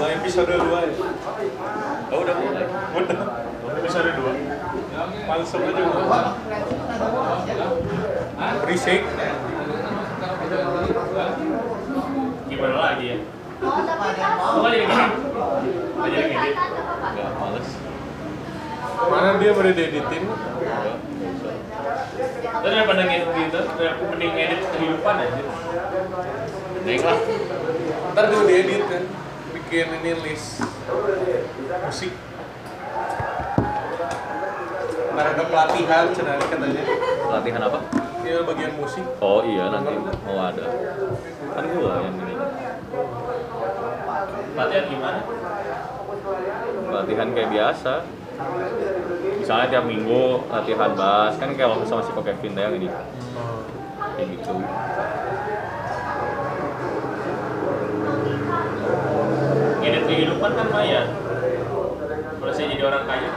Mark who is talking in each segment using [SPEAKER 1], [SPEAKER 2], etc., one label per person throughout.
[SPEAKER 1] Mulai episode 2 ya? Oh udah mulai? Udah Episode 2 Langsung aja udah Berisik
[SPEAKER 2] Gimana lagi ya?
[SPEAKER 3] Oh, tapi kan
[SPEAKER 2] Lu kan jadi
[SPEAKER 3] mobil
[SPEAKER 2] gini. Lu jadi gini.
[SPEAKER 3] Tata nggak apa-apa.
[SPEAKER 2] Gak males.
[SPEAKER 1] Mana dia baru dieditin?
[SPEAKER 2] Lu daripada ngedit gitu, aku mending ngedit kehidupan aja. Mending lah.
[SPEAKER 1] Ntar gue diedit kan Bikin ini list Musik Ntar ada pelatihan cenari katanya
[SPEAKER 4] Latihan apa?
[SPEAKER 1] Ini bagian musik
[SPEAKER 4] Oh iya nanti mau ada. Kan gua yang ini.
[SPEAKER 2] Latihan gimana?
[SPEAKER 4] Latihan kayak biasa. Misalnya tiap minggu latihan bass kan kayak waktu sama si Kok Kevin yang ini. Kayak gitu.
[SPEAKER 2] Ngedit kehidupan kan maya. Kalau saya jadi orang kaya.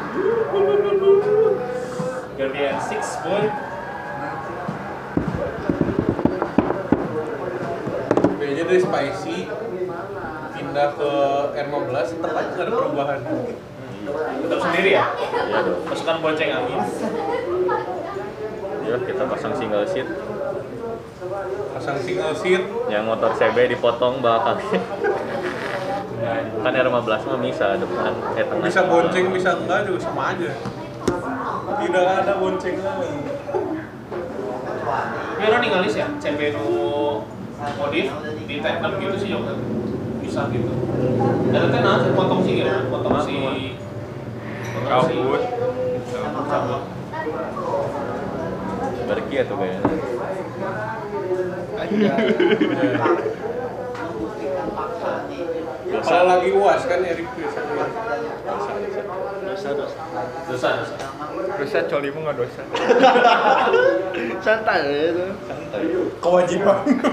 [SPEAKER 2] Gantian six boy.
[SPEAKER 1] Kayaknya dari spicy Pindah ke R15 Tetep aja nggak ada perubahan
[SPEAKER 2] Tetap sendiri ya?
[SPEAKER 4] Iya dong.
[SPEAKER 2] Pasukan bonceng angin.
[SPEAKER 4] Ya kita pasang single seat.
[SPEAKER 1] Pasang single seat
[SPEAKER 4] Yang motor CB dipotong belakangnya. kan R15 mah bisa depan eh tengah.
[SPEAKER 1] bisa bonceng bisa enggak juga sama aja tidak ada bonceng lagi
[SPEAKER 2] Ini orang ninggalis ya? CB nu modif di tandem gitu sih Jok. Bisa gitu. Dan itu nanti potong sih ya, potong si potong si-
[SPEAKER 1] Kabut.
[SPEAKER 2] Kabut, kabut.
[SPEAKER 4] Berki ya tuh kayaknya. Dosa.
[SPEAKER 1] kalau lagi uas kan Erik bisa
[SPEAKER 4] Dosa dosa.
[SPEAKER 2] Dosa, dosa.
[SPEAKER 5] Dosa colimu nggak dosa. Santai aja itu.
[SPEAKER 4] Santai.
[SPEAKER 1] kewajiban
[SPEAKER 4] Oh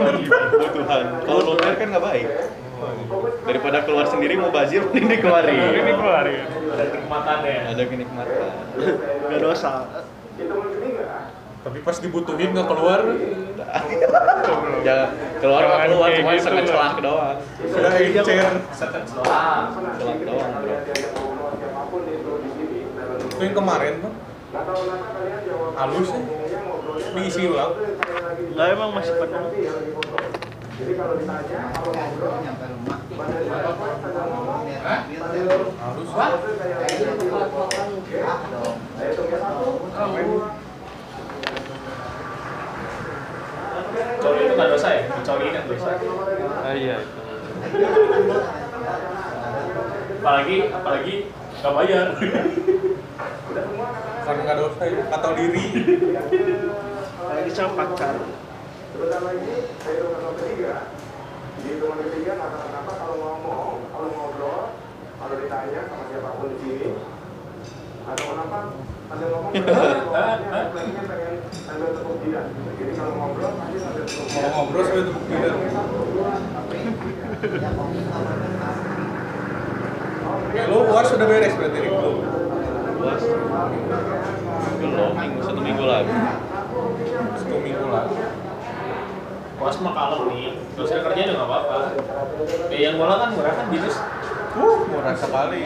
[SPEAKER 4] Tuhan, kalau nuklir kan nggak baik. Daripada keluar sendiri mau bazir, mending dikeluarin.
[SPEAKER 5] keluarin.
[SPEAKER 2] Ada kenikmatan deh.
[SPEAKER 4] Ada kenikmatan.
[SPEAKER 5] Nggak dosa.
[SPEAKER 1] tapi pas dibutuhin nggak keluar
[SPEAKER 4] Jangan Ya, keluar nggak keluar,
[SPEAKER 5] Jangan kayak
[SPEAKER 4] cuma
[SPEAKER 5] gitu,
[SPEAKER 4] sangat
[SPEAKER 5] Bang.
[SPEAKER 4] celak doang.
[SPEAKER 1] sudah encer
[SPEAKER 2] Setan doang.
[SPEAKER 4] Celak doang, bro.
[SPEAKER 1] itu yang kemarin tuh halus ya diisi ulang
[SPEAKER 5] Lah emang masih penuh.
[SPEAKER 1] halus
[SPEAKER 2] Coli itu nggak dosa ya? Coli kan dosa.
[SPEAKER 5] Ah iya.
[SPEAKER 2] Apalagi, apalagi nggak bayar.
[SPEAKER 1] kan nggak dosa ya atau diri
[SPEAKER 5] Lagi sama pacar.
[SPEAKER 1] mau ngobrol sambil tepuk tidak Oke, lu uas sudah beres berarti Erik lu
[SPEAKER 4] Luas. Belum, minggu satu minggu lagi.
[SPEAKER 1] satu minggu lagi
[SPEAKER 2] Bos mah kalem nih. Dosa kerja udah nggak apa-apa. Ya yang bola kan murah kan bisnis.
[SPEAKER 1] uh murah sekali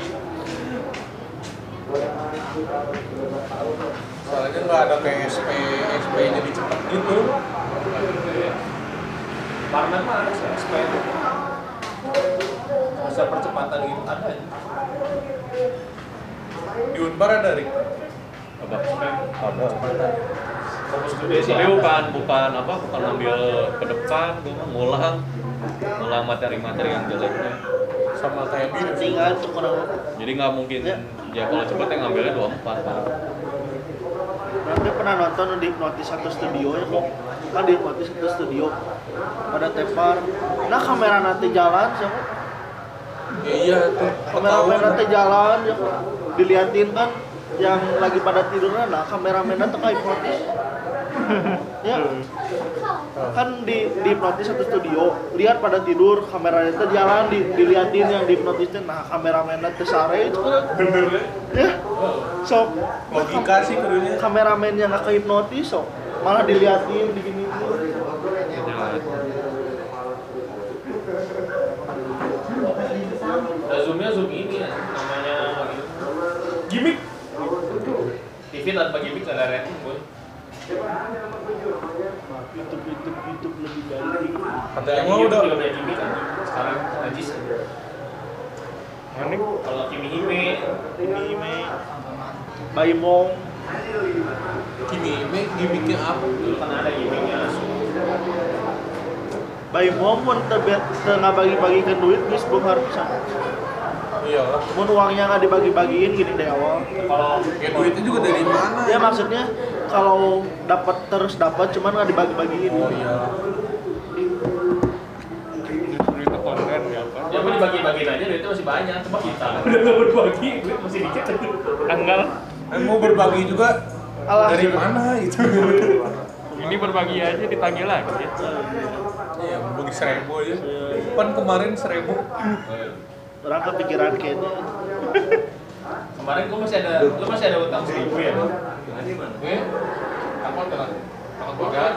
[SPEAKER 1] soalnya nggak ada kayak SP SP jadi cepet gitu
[SPEAKER 2] Parmen mah harus ya, supaya bisa percepatan gitu ada aja.
[SPEAKER 1] di Unpar ada Erik
[SPEAKER 4] Apa?
[SPEAKER 1] ada
[SPEAKER 2] Fokus gede sih.
[SPEAKER 4] Tapi
[SPEAKER 2] ada.
[SPEAKER 4] bukan bukan apa, bukan ngambil ke depan, gua mah ngulang ngulang materi-materi yang jeleknya.
[SPEAKER 1] sama kayak Bill
[SPEAKER 5] Tinggal tuh kurang.
[SPEAKER 4] Jadi nggak mungkin ya kalau cepet yang ngambilnya 24 Pak.
[SPEAKER 5] Gue pernah nonton di hipnotis satu studio ya kok. Kan di hipnotis satu studio. Pada tepar. Nah kamera nanti jalan siapa?
[SPEAKER 1] ya iya tuh
[SPEAKER 5] Kameramen
[SPEAKER 1] ketahuan.
[SPEAKER 5] nanti jalan ya kok. Diliatin kan yang lagi pada tidurnya nah kameramennya tuh kayak hipnotis.
[SPEAKER 1] Hmm.
[SPEAKER 5] ya kan di di hipnotis satu studio lihat pada tidur kameranya itu jalan di, diliatin yang di hipnotisnya nah kameramennya kesare itu kan
[SPEAKER 1] bener ya
[SPEAKER 5] ya sok
[SPEAKER 1] logika sih kudunya
[SPEAKER 5] kameramen yang nggak kehipnotis sok malah diliatin digini
[SPEAKER 2] Nah, zoomnya zoom ini ya, namanya
[SPEAKER 6] Gimik.
[SPEAKER 2] TV tanpa gimmick nggak ada rating boy.
[SPEAKER 5] YouTube YouTube YouTube lebih baik
[SPEAKER 2] Lagi
[SPEAKER 6] Emang udah.
[SPEAKER 2] juga punya gimmick kan. Sekarang najis. aja.
[SPEAKER 6] Manik.
[SPEAKER 2] Kalau Kimi Hime,
[SPEAKER 5] ini me Baimong
[SPEAKER 1] Kimi Ime gimmicknya apa?
[SPEAKER 2] dulu kan ada gimmicknya Asu.
[SPEAKER 5] Baimong pun tebet tengah bagi-bagikan duit bis benghar pisan
[SPEAKER 1] Iyalah.
[SPEAKER 5] mun uangnya nggak dibagi-bagiin gini dari awal
[SPEAKER 2] Kalau
[SPEAKER 1] Ya duitnya juga dari mana?
[SPEAKER 5] ya maksudnya kalau dapat terus dapat cuman nggak dibagi-bagiin
[SPEAKER 1] Oh iya.
[SPEAKER 6] Justru itu konten ya apa?
[SPEAKER 2] Ya gue dibagi-bagiin aja duitnya masih banyak, cuma kita udah gak berbagi, duit masih dikit
[SPEAKER 6] Tanggal.
[SPEAKER 1] Eh, mau berbagi juga
[SPEAKER 5] Alah.
[SPEAKER 1] dari mana gitu?
[SPEAKER 6] Ini berbagi aja ditagih lagi.
[SPEAKER 1] Iya, bagi seribu aja. Pan kemarin seribu.
[SPEAKER 5] orang kepikiran gitu. kayaknya
[SPEAKER 2] Kemarin gue masih ada, lu masih ada utang seribu ya? Eh, apa utang? Takut gue kan?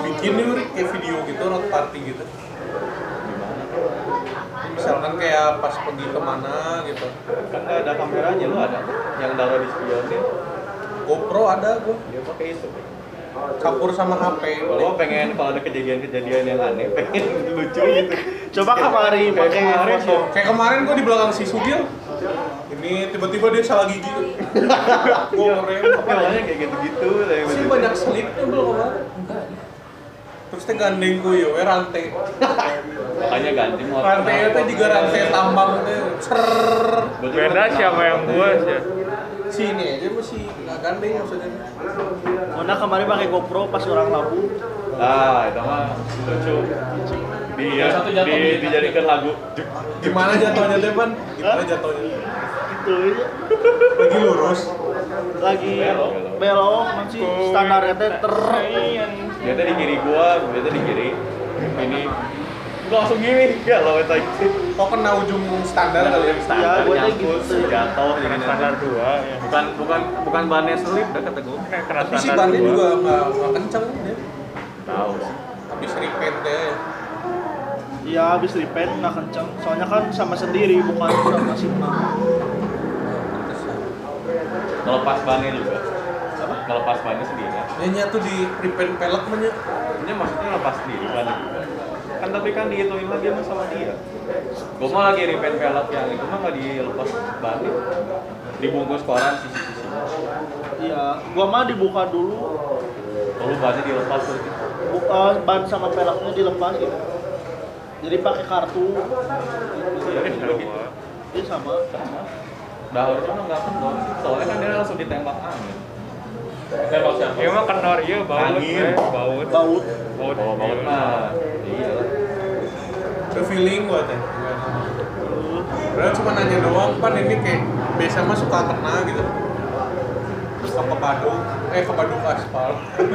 [SPEAKER 1] Bikin nih Rik, kayak video gitu, road party gitu. Misalkan kayak pas pergi kemana gitu.
[SPEAKER 4] Kan nggak ada kameranya lu ada yang taruh di spionnya.
[SPEAKER 1] GoPro ada gua,
[SPEAKER 4] Dia pakai itu.
[SPEAKER 1] campur sama HP.
[SPEAKER 4] Kalau pengen kalau ada kejadian-kejadian yang aneh pengen lucu gitu.
[SPEAKER 5] coba kamari
[SPEAKER 4] Kayak
[SPEAKER 5] pakai
[SPEAKER 4] kemarin
[SPEAKER 5] foto
[SPEAKER 4] ya.
[SPEAKER 1] Kayak kemarin gua di belakang si Sugil. Ini tiba-tiba dia salah gigi. Gua ngerem apa ya?
[SPEAKER 4] Awalnya kayak gitu-gitu. gitu, kayak
[SPEAKER 1] Sih
[SPEAKER 4] gitu-gitu.
[SPEAKER 1] banyak selipnya belum kemarin. Terus teh gandeng gue ya, we rantai.
[SPEAKER 4] Makanya ganti motor.
[SPEAKER 1] Rantai teh juga rantai tambang teh. Cer.
[SPEAKER 4] Berarti
[SPEAKER 6] Beda
[SPEAKER 4] lu
[SPEAKER 6] siapa yang buas ya?
[SPEAKER 1] Sini aja masih nggak gandeng maksudnya.
[SPEAKER 5] Mona kemarin pakai GoPro pas orang labu
[SPEAKER 4] Ah, itu mah lucu. Di,
[SPEAKER 2] Yang satu jatuh
[SPEAKER 4] di,
[SPEAKER 2] di-
[SPEAKER 4] dijadikan lagu.
[SPEAKER 1] Gimana jatuhnya teh, Pan? Gimana
[SPEAKER 5] Hah?
[SPEAKER 1] jatuhnya?
[SPEAKER 5] itu ya.
[SPEAKER 1] Lagi lurus.
[SPEAKER 5] lagi
[SPEAKER 4] Belok.
[SPEAKER 5] belok masih standarnya teh ter
[SPEAKER 4] Dia tadi di kiri gua, dia tadi di kiri. Ini gua langsung gini, ya lawan tadi.
[SPEAKER 1] Kok kena ujung standar
[SPEAKER 4] Standar
[SPEAKER 1] kali ya?
[SPEAKER 4] yang standar
[SPEAKER 5] gua tadi
[SPEAKER 4] nyangkut,
[SPEAKER 5] gitu.
[SPEAKER 4] jatuh
[SPEAKER 6] Karena
[SPEAKER 4] gini.
[SPEAKER 6] standar dua ya.
[SPEAKER 4] Bukan bukan bukan bannya selip dah kata gua.
[SPEAKER 6] Karena
[SPEAKER 1] Tapi si
[SPEAKER 6] standar
[SPEAKER 1] bannya
[SPEAKER 6] dua.
[SPEAKER 1] juga nggak nggak kenceng dia.
[SPEAKER 4] Tahu.
[SPEAKER 1] Tapi sering pente.
[SPEAKER 5] ya habis repaint nggak kenceng soalnya kan sama sendiri bukan sama si
[SPEAKER 4] Ngelepas bannya juga. Apa? Ngelepas bannya sendiri.
[SPEAKER 1] Nyanyi tuh di prevent pelek menya.
[SPEAKER 4] Ini maksudnya lepas sendiri bannya juga. Kan tapi kan dihitungin lagi sama sama dia. Gua mah lagi repaint pelek yang itu mah nggak dilepas bannya. Dibungkus koran sisi-sisi.
[SPEAKER 5] iya gua mah dibuka dulu
[SPEAKER 4] Lalu bannya dilepas terus gitu.
[SPEAKER 5] bu- eh, ban sama peleknya dilepas gitu jadi pakai kartu
[SPEAKER 4] Iya, juga gitu.
[SPEAKER 5] ini sama
[SPEAKER 4] Dahurnya mah nggak kendor sih, soalnya kan dia langsung ditembak angin.
[SPEAKER 2] Tembak siapa?
[SPEAKER 6] Ya mah kenor ya baut.
[SPEAKER 4] Angin.
[SPEAKER 6] eh, Baut.
[SPEAKER 5] baut
[SPEAKER 2] Oh,
[SPEAKER 6] Baut.
[SPEAKER 4] Kalau banget mah, iya lah.
[SPEAKER 1] Ke feeling gua teh. Padahal cuma nanya doang, pan ini kayak biasa mah suka kena gitu. Suka ke Badung, eh ke Badung ke aspal.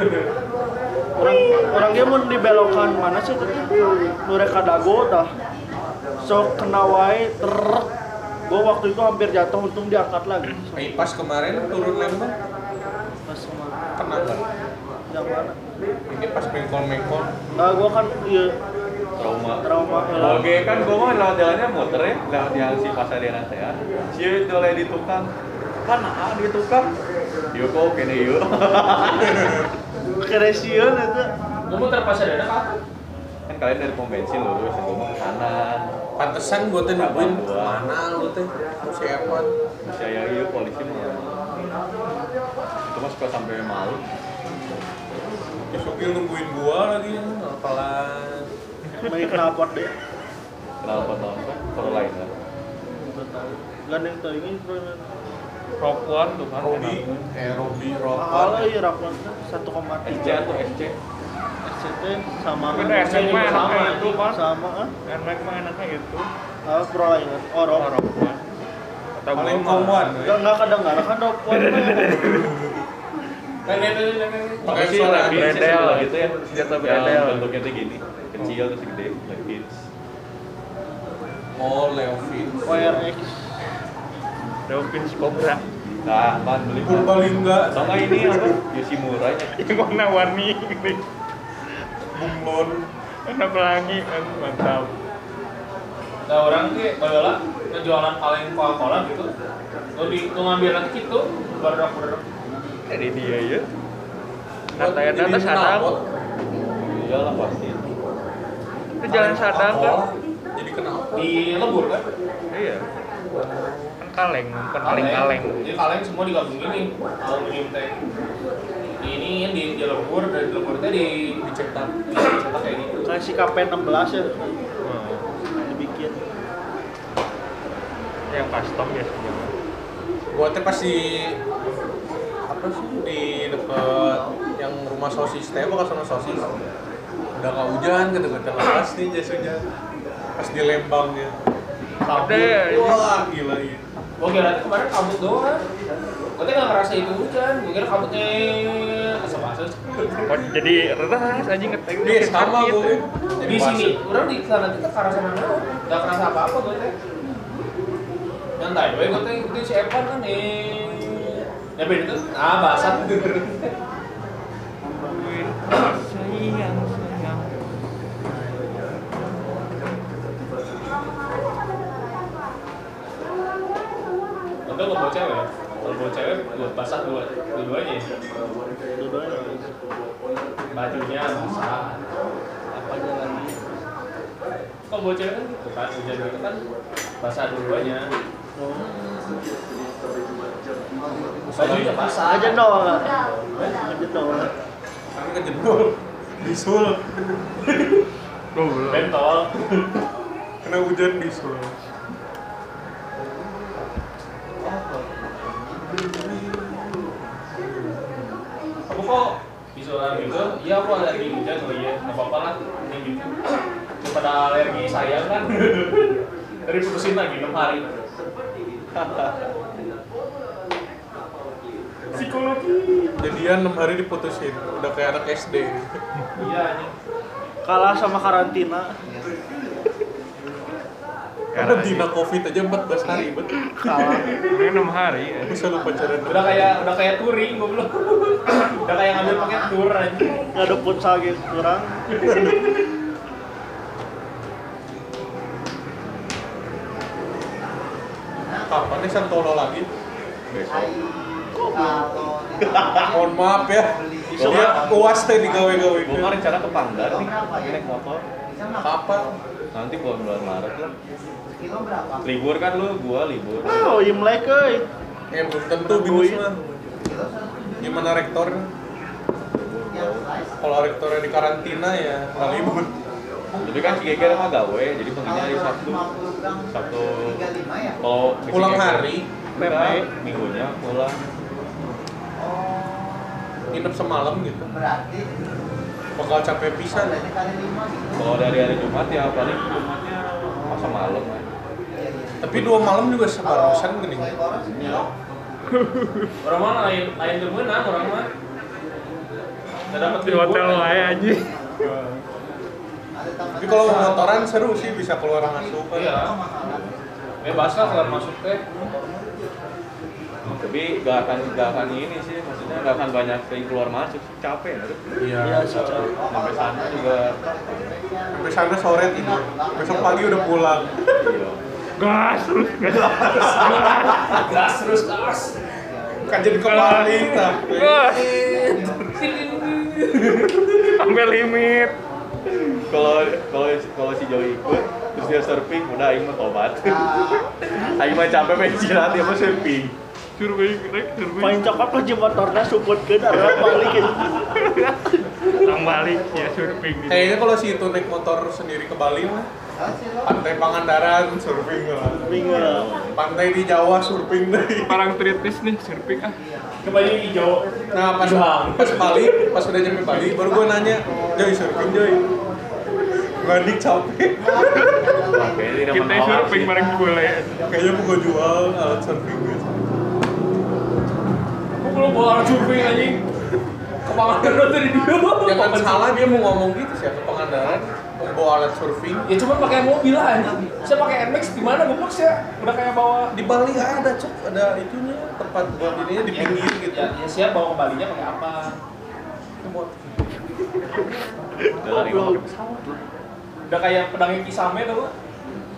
[SPEAKER 5] orang orang dia mau dibelokan mana sih tadi mereka dago dah so kena wae ter gua waktu itu hampir jatuh untung diangkat lagi
[SPEAKER 1] Eh, pas kemarin turun Lembang,
[SPEAKER 5] pas sama
[SPEAKER 1] kena kan?
[SPEAKER 5] yang mana
[SPEAKER 1] Ini pas mengkol-mengkol.
[SPEAKER 5] nah gua kan iya
[SPEAKER 4] Trauma.
[SPEAKER 5] trauma ya. lah
[SPEAKER 4] Oke kan gua mah lewat jalannya muter ya, lewat yang si Pasadena teh ya. Si itu oleh di tukang. Kan ah di tukang. Yuk kok kene yuk.
[SPEAKER 5] keresion itu
[SPEAKER 2] Gue muter pas ada anak aku.
[SPEAKER 4] Kan kalian dari pom bensin lurus, gua mah ke kanan.
[SPEAKER 1] Pantesan gua teh nungguin kemana lu teh? Siapa?
[SPEAKER 4] Saya yuk ya, polisi mah. Itu mah suka sampai malu.
[SPEAKER 1] Besoknya Ya, nungguin gua lagi, apalan.
[SPEAKER 5] main knalpot deh
[SPEAKER 4] Kenapa tahu kan? Kalau lain lah.
[SPEAKER 5] gandeng tuh ini
[SPEAKER 6] Rock one tuh kan.
[SPEAKER 1] Robi, eh Robi,
[SPEAKER 5] mahal lah
[SPEAKER 1] Ropan.
[SPEAKER 5] ya rapon satu koma
[SPEAKER 4] SC
[SPEAKER 5] tiga
[SPEAKER 4] atau SC?
[SPEAKER 5] SCT sama
[SPEAKER 6] Tapi udah SMP mah enaknya
[SPEAKER 2] Sama,
[SPEAKER 6] itu kan.
[SPEAKER 5] sama ah
[SPEAKER 6] Nmax mah enaknya itu.
[SPEAKER 5] ah, perlawanan orok
[SPEAKER 6] Rock one. Kata gua
[SPEAKER 1] Paling
[SPEAKER 6] mah.
[SPEAKER 1] komuan.
[SPEAKER 5] nggak nggak kadang nggak kan rapon
[SPEAKER 4] Apa
[SPEAKER 1] Pakai
[SPEAKER 4] sih
[SPEAKER 1] suara
[SPEAKER 4] Levins sih
[SPEAKER 7] Bredel.
[SPEAKER 4] sebelah gitu ya?
[SPEAKER 7] Senjata
[SPEAKER 4] Yang
[SPEAKER 7] bredel.
[SPEAKER 4] Bentuknya tuh gini, kecil terus gede, Levins.
[SPEAKER 1] Oh, Leovin.
[SPEAKER 5] WRX
[SPEAKER 7] Dolphins Cobra
[SPEAKER 4] Nah, Pan beli Pan.
[SPEAKER 1] Purbalingga,
[SPEAKER 4] Atau nggak ini apa? Eh, Yoshimura nya.
[SPEAKER 7] yang warna warni gini
[SPEAKER 1] Bunglon.
[SPEAKER 7] warna pelangi kan mantap
[SPEAKER 2] Nah orang ke bayola ngejualan kaleng Coca-Cola gitu. Lo di lo ngambil nanti gitu, baru produk
[SPEAKER 7] jadi dia ya
[SPEAKER 1] Buat
[SPEAKER 7] Nata ya
[SPEAKER 1] jadi
[SPEAKER 7] nata sadang
[SPEAKER 1] kenalpot.
[SPEAKER 4] Iyalah Iya pasti.
[SPEAKER 7] itu jalan sadang kan
[SPEAKER 1] Jadi kenapa?
[SPEAKER 2] di lebur kan.
[SPEAKER 7] iya kan kaleng bukan kaleng
[SPEAKER 2] Kaleng.
[SPEAKER 7] kaleng
[SPEAKER 2] Jadi kaleng semua digabungin nih, aluminium tank. Di ini di di lebur dan di lebur itu di dicetak, dicetak kayak gitu.
[SPEAKER 5] kayak si KP16 ya
[SPEAKER 7] Hmm.
[SPEAKER 5] dibikin
[SPEAKER 7] yang custom biasanya
[SPEAKER 1] Gua teh pas di apa sih di deket yang rumah sosis teh bakal sana sosis. Udah nggak hujan, kata kata lepas nih jas hujan. Pas di Lembang ya.
[SPEAKER 7] ada ya ini
[SPEAKER 1] Wah, gila ya.
[SPEAKER 2] Gue kira tuh Oh, kemarin kabut doang. Gue tuh nggak ngerasa itu hujan, gue kira kabutnya kesel-kesel.
[SPEAKER 7] Oh, jadi ras anjing ngeteng
[SPEAKER 1] Iya, sama
[SPEAKER 7] Sakit.
[SPEAKER 1] gue. Jadi
[SPEAKER 2] Di sini,
[SPEAKER 1] basah.
[SPEAKER 2] orang di sana kita ke arah sana doang, nggak kerasa apa-apa gue teh. Nyantai, gue gue teh ikutin si Evan kan nih. Ya beda tuh, ah basah.
[SPEAKER 7] sayang sayang
[SPEAKER 2] Untung nggak bawa cewek, kalau bawa cewek gue basah dua, dua-duanya. ya. Bajunya basah. Apa lagi? Kalau bawa cewek kan gitu kan, hujan gitu kan basah dua-duanya. Bajunya basah.
[SPEAKER 5] aja dong aja dong
[SPEAKER 1] Kami kejedul. Bisul.
[SPEAKER 7] Duh, belum.
[SPEAKER 2] Bentol.
[SPEAKER 1] Kena hujan bisul.
[SPEAKER 2] Kamu kok bisolan gitu? Iya aku alergi hujan oh iya, nggak apa-apa lah. Ini gitu. Daripada alergi saya kan. Dari putusin lagi 6 hari. Psikologi.
[SPEAKER 1] Jadian 6 hari diputusin. Udah kayak anak SD.
[SPEAKER 2] Iya anjing.
[SPEAKER 5] kalah sama karantina
[SPEAKER 1] Karena dina covid aja 14 hari bet.
[SPEAKER 5] kalah
[SPEAKER 7] ini enam hari ya.
[SPEAKER 1] Bisa lu pacaran.
[SPEAKER 2] Udah kayak udah kayak touring goblok. udah kayak ngambil paket tour anjing.
[SPEAKER 5] nggak ada futsal gitu kurang
[SPEAKER 1] kapan nih Santolo lagi?
[SPEAKER 4] Besok.
[SPEAKER 1] Mohon maaf ya.
[SPEAKER 5] Bisa
[SPEAKER 1] Dia
[SPEAKER 5] makan.
[SPEAKER 1] puas teh digawe-gawe.
[SPEAKER 4] Gue mah rencana ke Pandan nih, naik motor.
[SPEAKER 1] Kapan?
[SPEAKER 4] Nanti bulan bulan Maret lah.
[SPEAKER 8] Kilo berapa?
[SPEAKER 4] Libur kan lu, gua libur.
[SPEAKER 5] wow imlek Oh, iya, euy
[SPEAKER 1] Ya belum tentu binus mah. Gimana rektornya? Kalau rektornya di karantina ya nggak libur.
[SPEAKER 4] Tapi kan si Geger mah gawe, jadi pengennya hari Sabtu. Sabtu. Kalau ke
[SPEAKER 1] Pulang
[SPEAKER 4] Cigeger,
[SPEAKER 1] hari,
[SPEAKER 4] enggak,
[SPEAKER 5] Pepe.
[SPEAKER 4] minggunya pulang.
[SPEAKER 1] nginep semalam gitu.
[SPEAKER 8] Berarti
[SPEAKER 1] Bakal capek pisan.
[SPEAKER 8] dari kali lima gitu.
[SPEAKER 4] Kalau dari hari Jumat ya paling Jumatnya masa malam lah.
[SPEAKER 1] Tapi dua malam juga sebarusan gini.
[SPEAKER 8] Kalau boros, kilo.
[SPEAKER 2] Orang mah lain lain demenang orang mah. Nggak dapat
[SPEAKER 7] di hotel lah ya anjing
[SPEAKER 8] Ada tambahan.
[SPEAKER 1] Tapi kalau motoran seru sih bisa keluar asupan.
[SPEAKER 2] Iya. Bebas Eh, lah kalau masuk teh.
[SPEAKER 4] Tapi gak akan gak akan ini sih, maksudnya gak akan banyak yang keluar masuk, capek ya.
[SPEAKER 5] ya
[SPEAKER 1] Iya.
[SPEAKER 5] sih Cang.
[SPEAKER 4] Sampai sana juga.
[SPEAKER 1] Sampai sana sore tidur. Besok pagi udah pulang.
[SPEAKER 4] Iya.
[SPEAKER 7] gas terus gas
[SPEAKER 2] Gas terus gas.
[SPEAKER 1] Kan jadi kembali tapi.
[SPEAKER 7] gas sampai limit
[SPEAKER 4] Kalau kalau kalau si Joey ikut, terus dia surfing, udah Aing mah tobat. Aing mah capek main silat, dia mah surfing.
[SPEAKER 7] suruh gue naik suruh gue
[SPEAKER 5] main cokap lagi motornya support ke arah ya. balikin
[SPEAKER 7] Lang balik ya surfing gitu.
[SPEAKER 1] Kayaknya kalau si itu naik motor sendiri ke Bali mah
[SPEAKER 8] Hasil lo.
[SPEAKER 1] pantai Pangandaran surfing lah.
[SPEAKER 5] minggu
[SPEAKER 4] ya.
[SPEAKER 5] lah
[SPEAKER 1] Pantai di Jawa surfing deh.
[SPEAKER 7] Parang tritis nih surfing ah.
[SPEAKER 2] Kembali hijau.
[SPEAKER 1] Nah pas pas Bali, pas udah nyampe Bali, baru gue nanya, Joy surfing Joy. Gandik capek,
[SPEAKER 4] Makanya dia
[SPEAKER 7] Kita surfing bareng ya. bule.
[SPEAKER 1] kayaknya mau gue jual alat surfing gue.
[SPEAKER 2] Aku belum bawa orang surfing anjing. Pangandaran dari dulu.
[SPEAKER 1] Jangan Ya kan salah dia mau ngomong gitu siapa Pangandaran membawa alat surfing
[SPEAKER 2] Ya cuma pakai mobil lah anjing. Saya pakai NMAX di mana gua pun saya udah kayak bawa
[SPEAKER 1] di Bali ada cok ada itunya tempat buat ininya di pinggir gitu
[SPEAKER 4] Iya.
[SPEAKER 2] Ya, ya siap bawa kembalinya pakai apa?
[SPEAKER 4] Udah lari pakai pesawat.
[SPEAKER 2] Udah kayak pedangnya kisame tuh.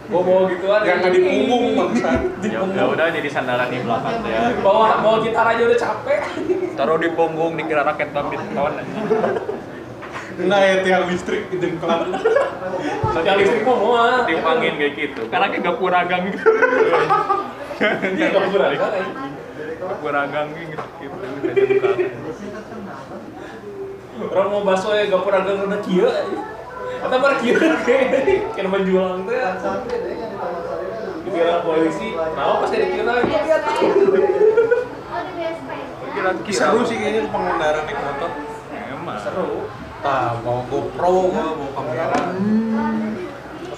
[SPEAKER 2] Gua bawa gituan.
[SPEAKER 1] yang nggak di punggung bangsa
[SPEAKER 2] Di
[SPEAKER 4] Ya ya
[SPEAKER 2] punggung.
[SPEAKER 4] udah jadi sandaran di belakang ya.
[SPEAKER 2] Bawa bawa gitar aja udah capek.
[SPEAKER 4] Taruh di punggung dikira raket tapi tahun anjing.
[SPEAKER 1] nah ya tiang listrik di dengklan
[SPEAKER 2] Yang listrik mau ah. mau.
[SPEAKER 4] Tiup angin kayak gitu. Karena kayak gak puragang gitu.
[SPEAKER 2] Iya enggak beragam.
[SPEAKER 4] Puragang gitu gitu. Kayak buka.
[SPEAKER 2] Orang mau baso ya gak pernah agak udah kieu. Kata mah kieu kayak kena menjulang teh. Dikira polisi, nah pas dari kira lagi lihat
[SPEAKER 1] seru sih kayaknya ke Pangandaran naik motor
[SPEAKER 4] Emang.
[SPEAKER 2] seru.
[SPEAKER 1] tah bawa Nah, GoPro gua bawa kamera Hmm.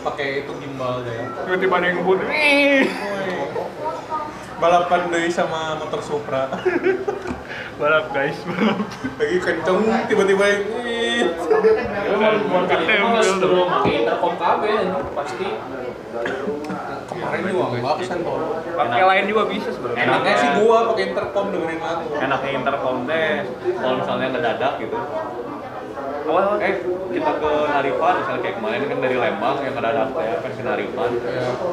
[SPEAKER 1] pakai itu gimbal ya. deh
[SPEAKER 4] Tiba-tiba ada yang ngebut. "Wih."
[SPEAKER 1] balapan deh sama motor Supra
[SPEAKER 7] balap guys balap
[SPEAKER 1] lagi kenceng tiba-tiba yang "Wih." Iya,
[SPEAKER 2] Ya mau mau kali
[SPEAKER 7] Katanya
[SPEAKER 2] mah
[SPEAKER 7] belum.
[SPEAKER 2] sebelum pakai intercom KB pasti
[SPEAKER 1] kemarin juga nggak kesan tolong
[SPEAKER 4] Pakai lain juga bisa sebenarnya.
[SPEAKER 1] enaknya sih gua pakai intercom dengerin lagu
[SPEAKER 4] enaknya intercom teh kalau misalnya ngedadak gitu awal eh kita ke Narifan misalnya kayak kemarin kan dari Lembang yang ngedadak teh kan ke Narifan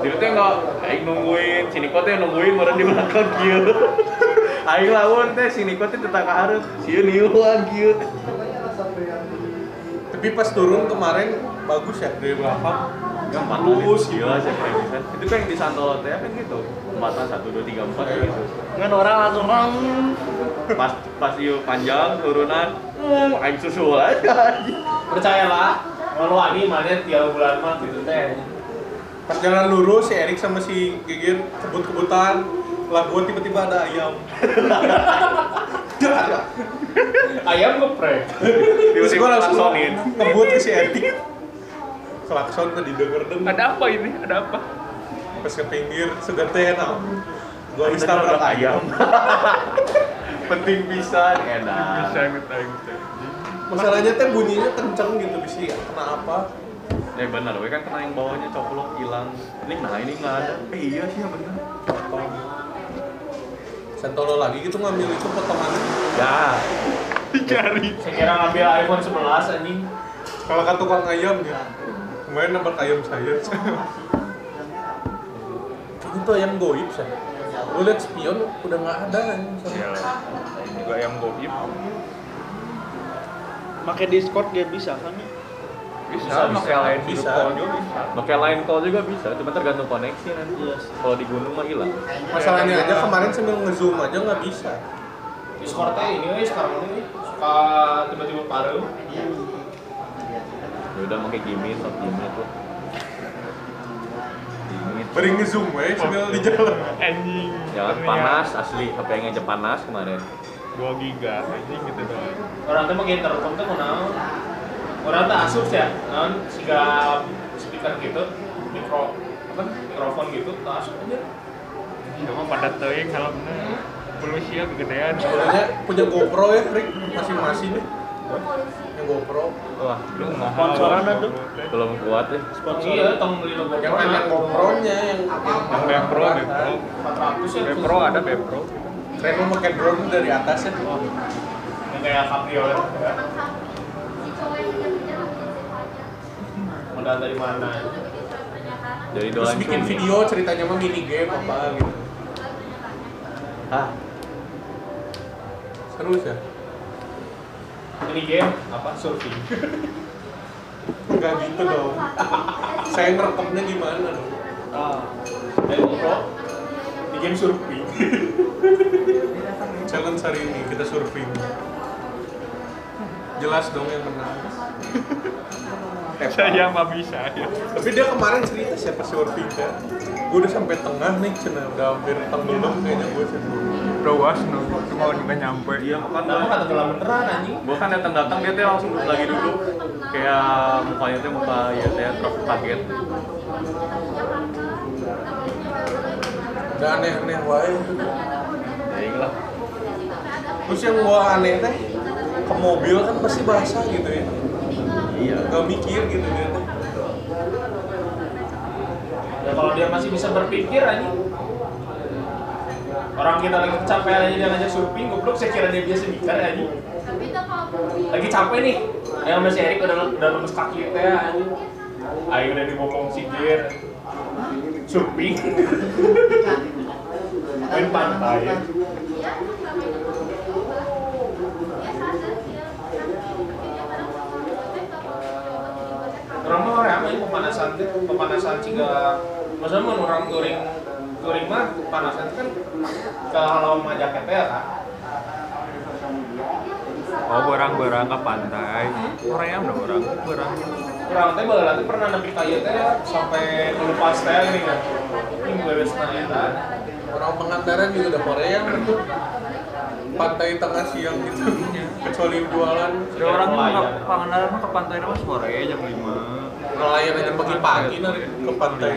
[SPEAKER 4] jadi teh nggak aing nungguin si Niko teh nungguin baru di belakang kieu aing lawan teh si Niko teh tetangga harus kieu niuan kieu
[SPEAKER 1] tapi pas turun kemarin bagus ya dari belakang
[SPEAKER 4] gampang lulus gitu. gila siapa yang bisa itu kan yang di Santolo teh kan gitu mata satu dua tiga empat gitu
[SPEAKER 5] Ngan orang langsung rang.
[SPEAKER 4] pas pas ieu panjang turunan hmm, aing susul aja
[SPEAKER 2] percayalah kalau ani mana tiap bulan mah gitu teh.
[SPEAKER 1] pas jalan lurus si Erik sama si Gigir kebut-kebutan lah gua tiba-tiba ada ayam
[SPEAKER 2] Ayam geprek.
[SPEAKER 1] terus
[SPEAKER 4] tiba-tiba
[SPEAKER 1] gua langsung
[SPEAKER 4] klaksonin.
[SPEAKER 1] ngebut ke si Erik klakson tadi denger denger
[SPEAKER 7] ada apa ini ada apa
[SPEAKER 1] pas ke pinggir sudah tenang gua habis
[SPEAKER 4] Kita
[SPEAKER 1] tabrak
[SPEAKER 4] nabrak
[SPEAKER 1] ayam
[SPEAKER 4] penting pisan enak
[SPEAKER 7] bisa ngetahin teh
[SPEAKER 1] masalahnya teh bunyinya kenceng gitu bisa kenapa
[SPEAKER 4] Ya benar, we kan kena yang bawahnya coplok hilang. Ini nah ini nggak ada. Eh, iya sih ya benar.
[SPEAKER 1] Santolo lagi gitu ngambil itu potongan
[SPEAKER 4] Ya,
[SPEAKER 7] dicari
[SPEAKER 2] Saya kira ngambil iPhone 11 anjing.
[SPEAKER 1] kalau kan tukang ayam ya kemarin nabrak ayam saya itu tuh ayam goib saya lu liat spion udah nggak ada anjing.
[SPEAKER 7] juga yang goib
[SPEAKER 5] Pakai Discord dia bisa kan? ya?
[SPEAKER 4] bisa,
[SPEAKER 1] Bisa,
[SPEAKER 4] pakai
[SPEAKER 1] bisa.
[SPEAKER 4] lain
[SPEAKER 1] Bisa.
[SPEAKER 4] juga bisa. Pakai lain call juga bisa, cuma tergantung koneksi nanti.
[SPEAKER 5] Iya sih.
[SPEAKER 4] Kalau di gunung mah hilang.
[SPEAKER 1] masalahnya aja kemarin sambil ngezoom aja nggak bisa
[SPEAKER 2] Discord teh ini we, sekarang ini suka tiba-tiba paruh.
[SPEAKER 4] Ya udah pakai gimmick, sok gimmick tuh. Gimmick.
[SPEAKER 1] beri ngezoom weh sambil di jalan
[SPEAKER 7] anjing ya,
[SPEAKER 4] Jangan Ya, panas asli, HP yang aja panas kemarin.
[SPEAKER 7] 2 giga anjing gitu doang
[SPEAKER 2] orang tuh pakai intercom tuh kenal orang tuh asus ya non siga speaker gitu mikro apa mikrofon gitu tuh asus aja
[SPEAKER 7] cuma pada teing kalau bener belum siap kegedean
[SPEAKER 1] sebenarnya punya GoPro ya Rick masing-masing nih yang GoPro
[SPEAKER 4] Wah,
[SPEAKER 7] lu
[SPEAKER 5] Sponsoran
[SPEAKER 7] mahal
[SPEAKER 5] aduh.
[SPEAKER 4] belum kuat ya.
[SPEAKER 2] iya tong beli logo
[SPEAKER 1] yang ada GoPro-nya yang yang
[SPEAKER 7] Bepro,
[SPEAKER 1] belakang.
[SPEAKER 7] Bepro.
[SPEAKER 2] 400 ya
[SPEAKER 7] Bepro ada Bepro.
[SPEAKER 1] keren mau pakai drone dari atas ya
[SPEAKER 2] yang kayak cabriolet gitu kan. modal dari mana
[SPEAKER 4] Jadi
[SPEAKER 1] terus
[SPEAKER 4] doang
[SPEAKER 1] bikin
[SPEAKER 4] cumi.
[SPEAKER 1] video ceritanya mah mini game apa gitu
[SPEAKER 4] Ah,
[SPEAKER 1] seru sih ya?
[SPEAKER 2] ini game apa surfing
[SPEAKER 1] nggak gitu dong saya ngerekamnya gimana dong
[SPEAKER 2] ah dari GoPro di game surfing
[SPEAKER 1] challenge hari ini kita surfing jelas dong yang menang
[SPEAKER 7] Saya mah bisa ya.
[SPEAKER 1] tapi dia kemarin cerita siapa surfing ya gue udah sampai tengah nih cina udah hampir tenggelam kayaknya gue sih
[SPEAKER 7] Luas no, cuma nggak nyampe.
[SPEAKER 4] dia makan
[SPEAKER 2] kenapa kata dalam beneran anjing
[SPEAKER 4] gue Iya, kan datang datang dia teh langsung lagi duduk kayak mukanya teh muka ya teh terus kaget
[SPEAKER 1] udah aneh-aneh wae
[SPEAKER 4] ya lah
[SPEAKER 1] terus yang gua aneh teh ke mobil kan pasti basah gitu ya
[SPEAKER 4] Iya.
[SPEAKER 1] nggak mikir gitu dia tuh
[SPEAKER 2] Ya kalau dia masih bisa berpikir aja. Orang kita lagi kecapean aja dia ngajak surfing, goblok saya kira dia biasa bicara aja.
[SPEAKER 9] Tapi itu kalau
[SPEAKER 2] Lagi capek nih. Ayo sama si Erik udah udah lemes kaki teh aja. Ayo udah dibopong si Gir. Surfing. Main pantai.
[SPEAKER 9] dia selama ini belum berubah. Dia sadar dia sakit, tapi dia kadang suka mengejek, tapi jawaban ini banyak
[SPEAKER 2] Orang mah orang aja pemanasan teh, pemanasan ciga. Maksudnya mun orang touring touring mah panasan teh kan ke halau majaket teh ya kan.
[SPEAKER 7] Oh, barang-barang ke pantai. Orangnya udah orang, barang.
[SPEAKER 2] Kurang teh bae teh pernah nepi ka ieu teh sampai lupa teh ini kan. Ini beres na eta.
[SPEAKER 1] orang pengantaran juga udah Korea gitu pantai tengah siang gitu kecuali jualan
[SPEAKER 7] Ada orang mah ke Pangandaran mah ke pantai nama sore jam 5.
[SPEAKER 1] nelayan aja pagi-pagi nanti ke pantai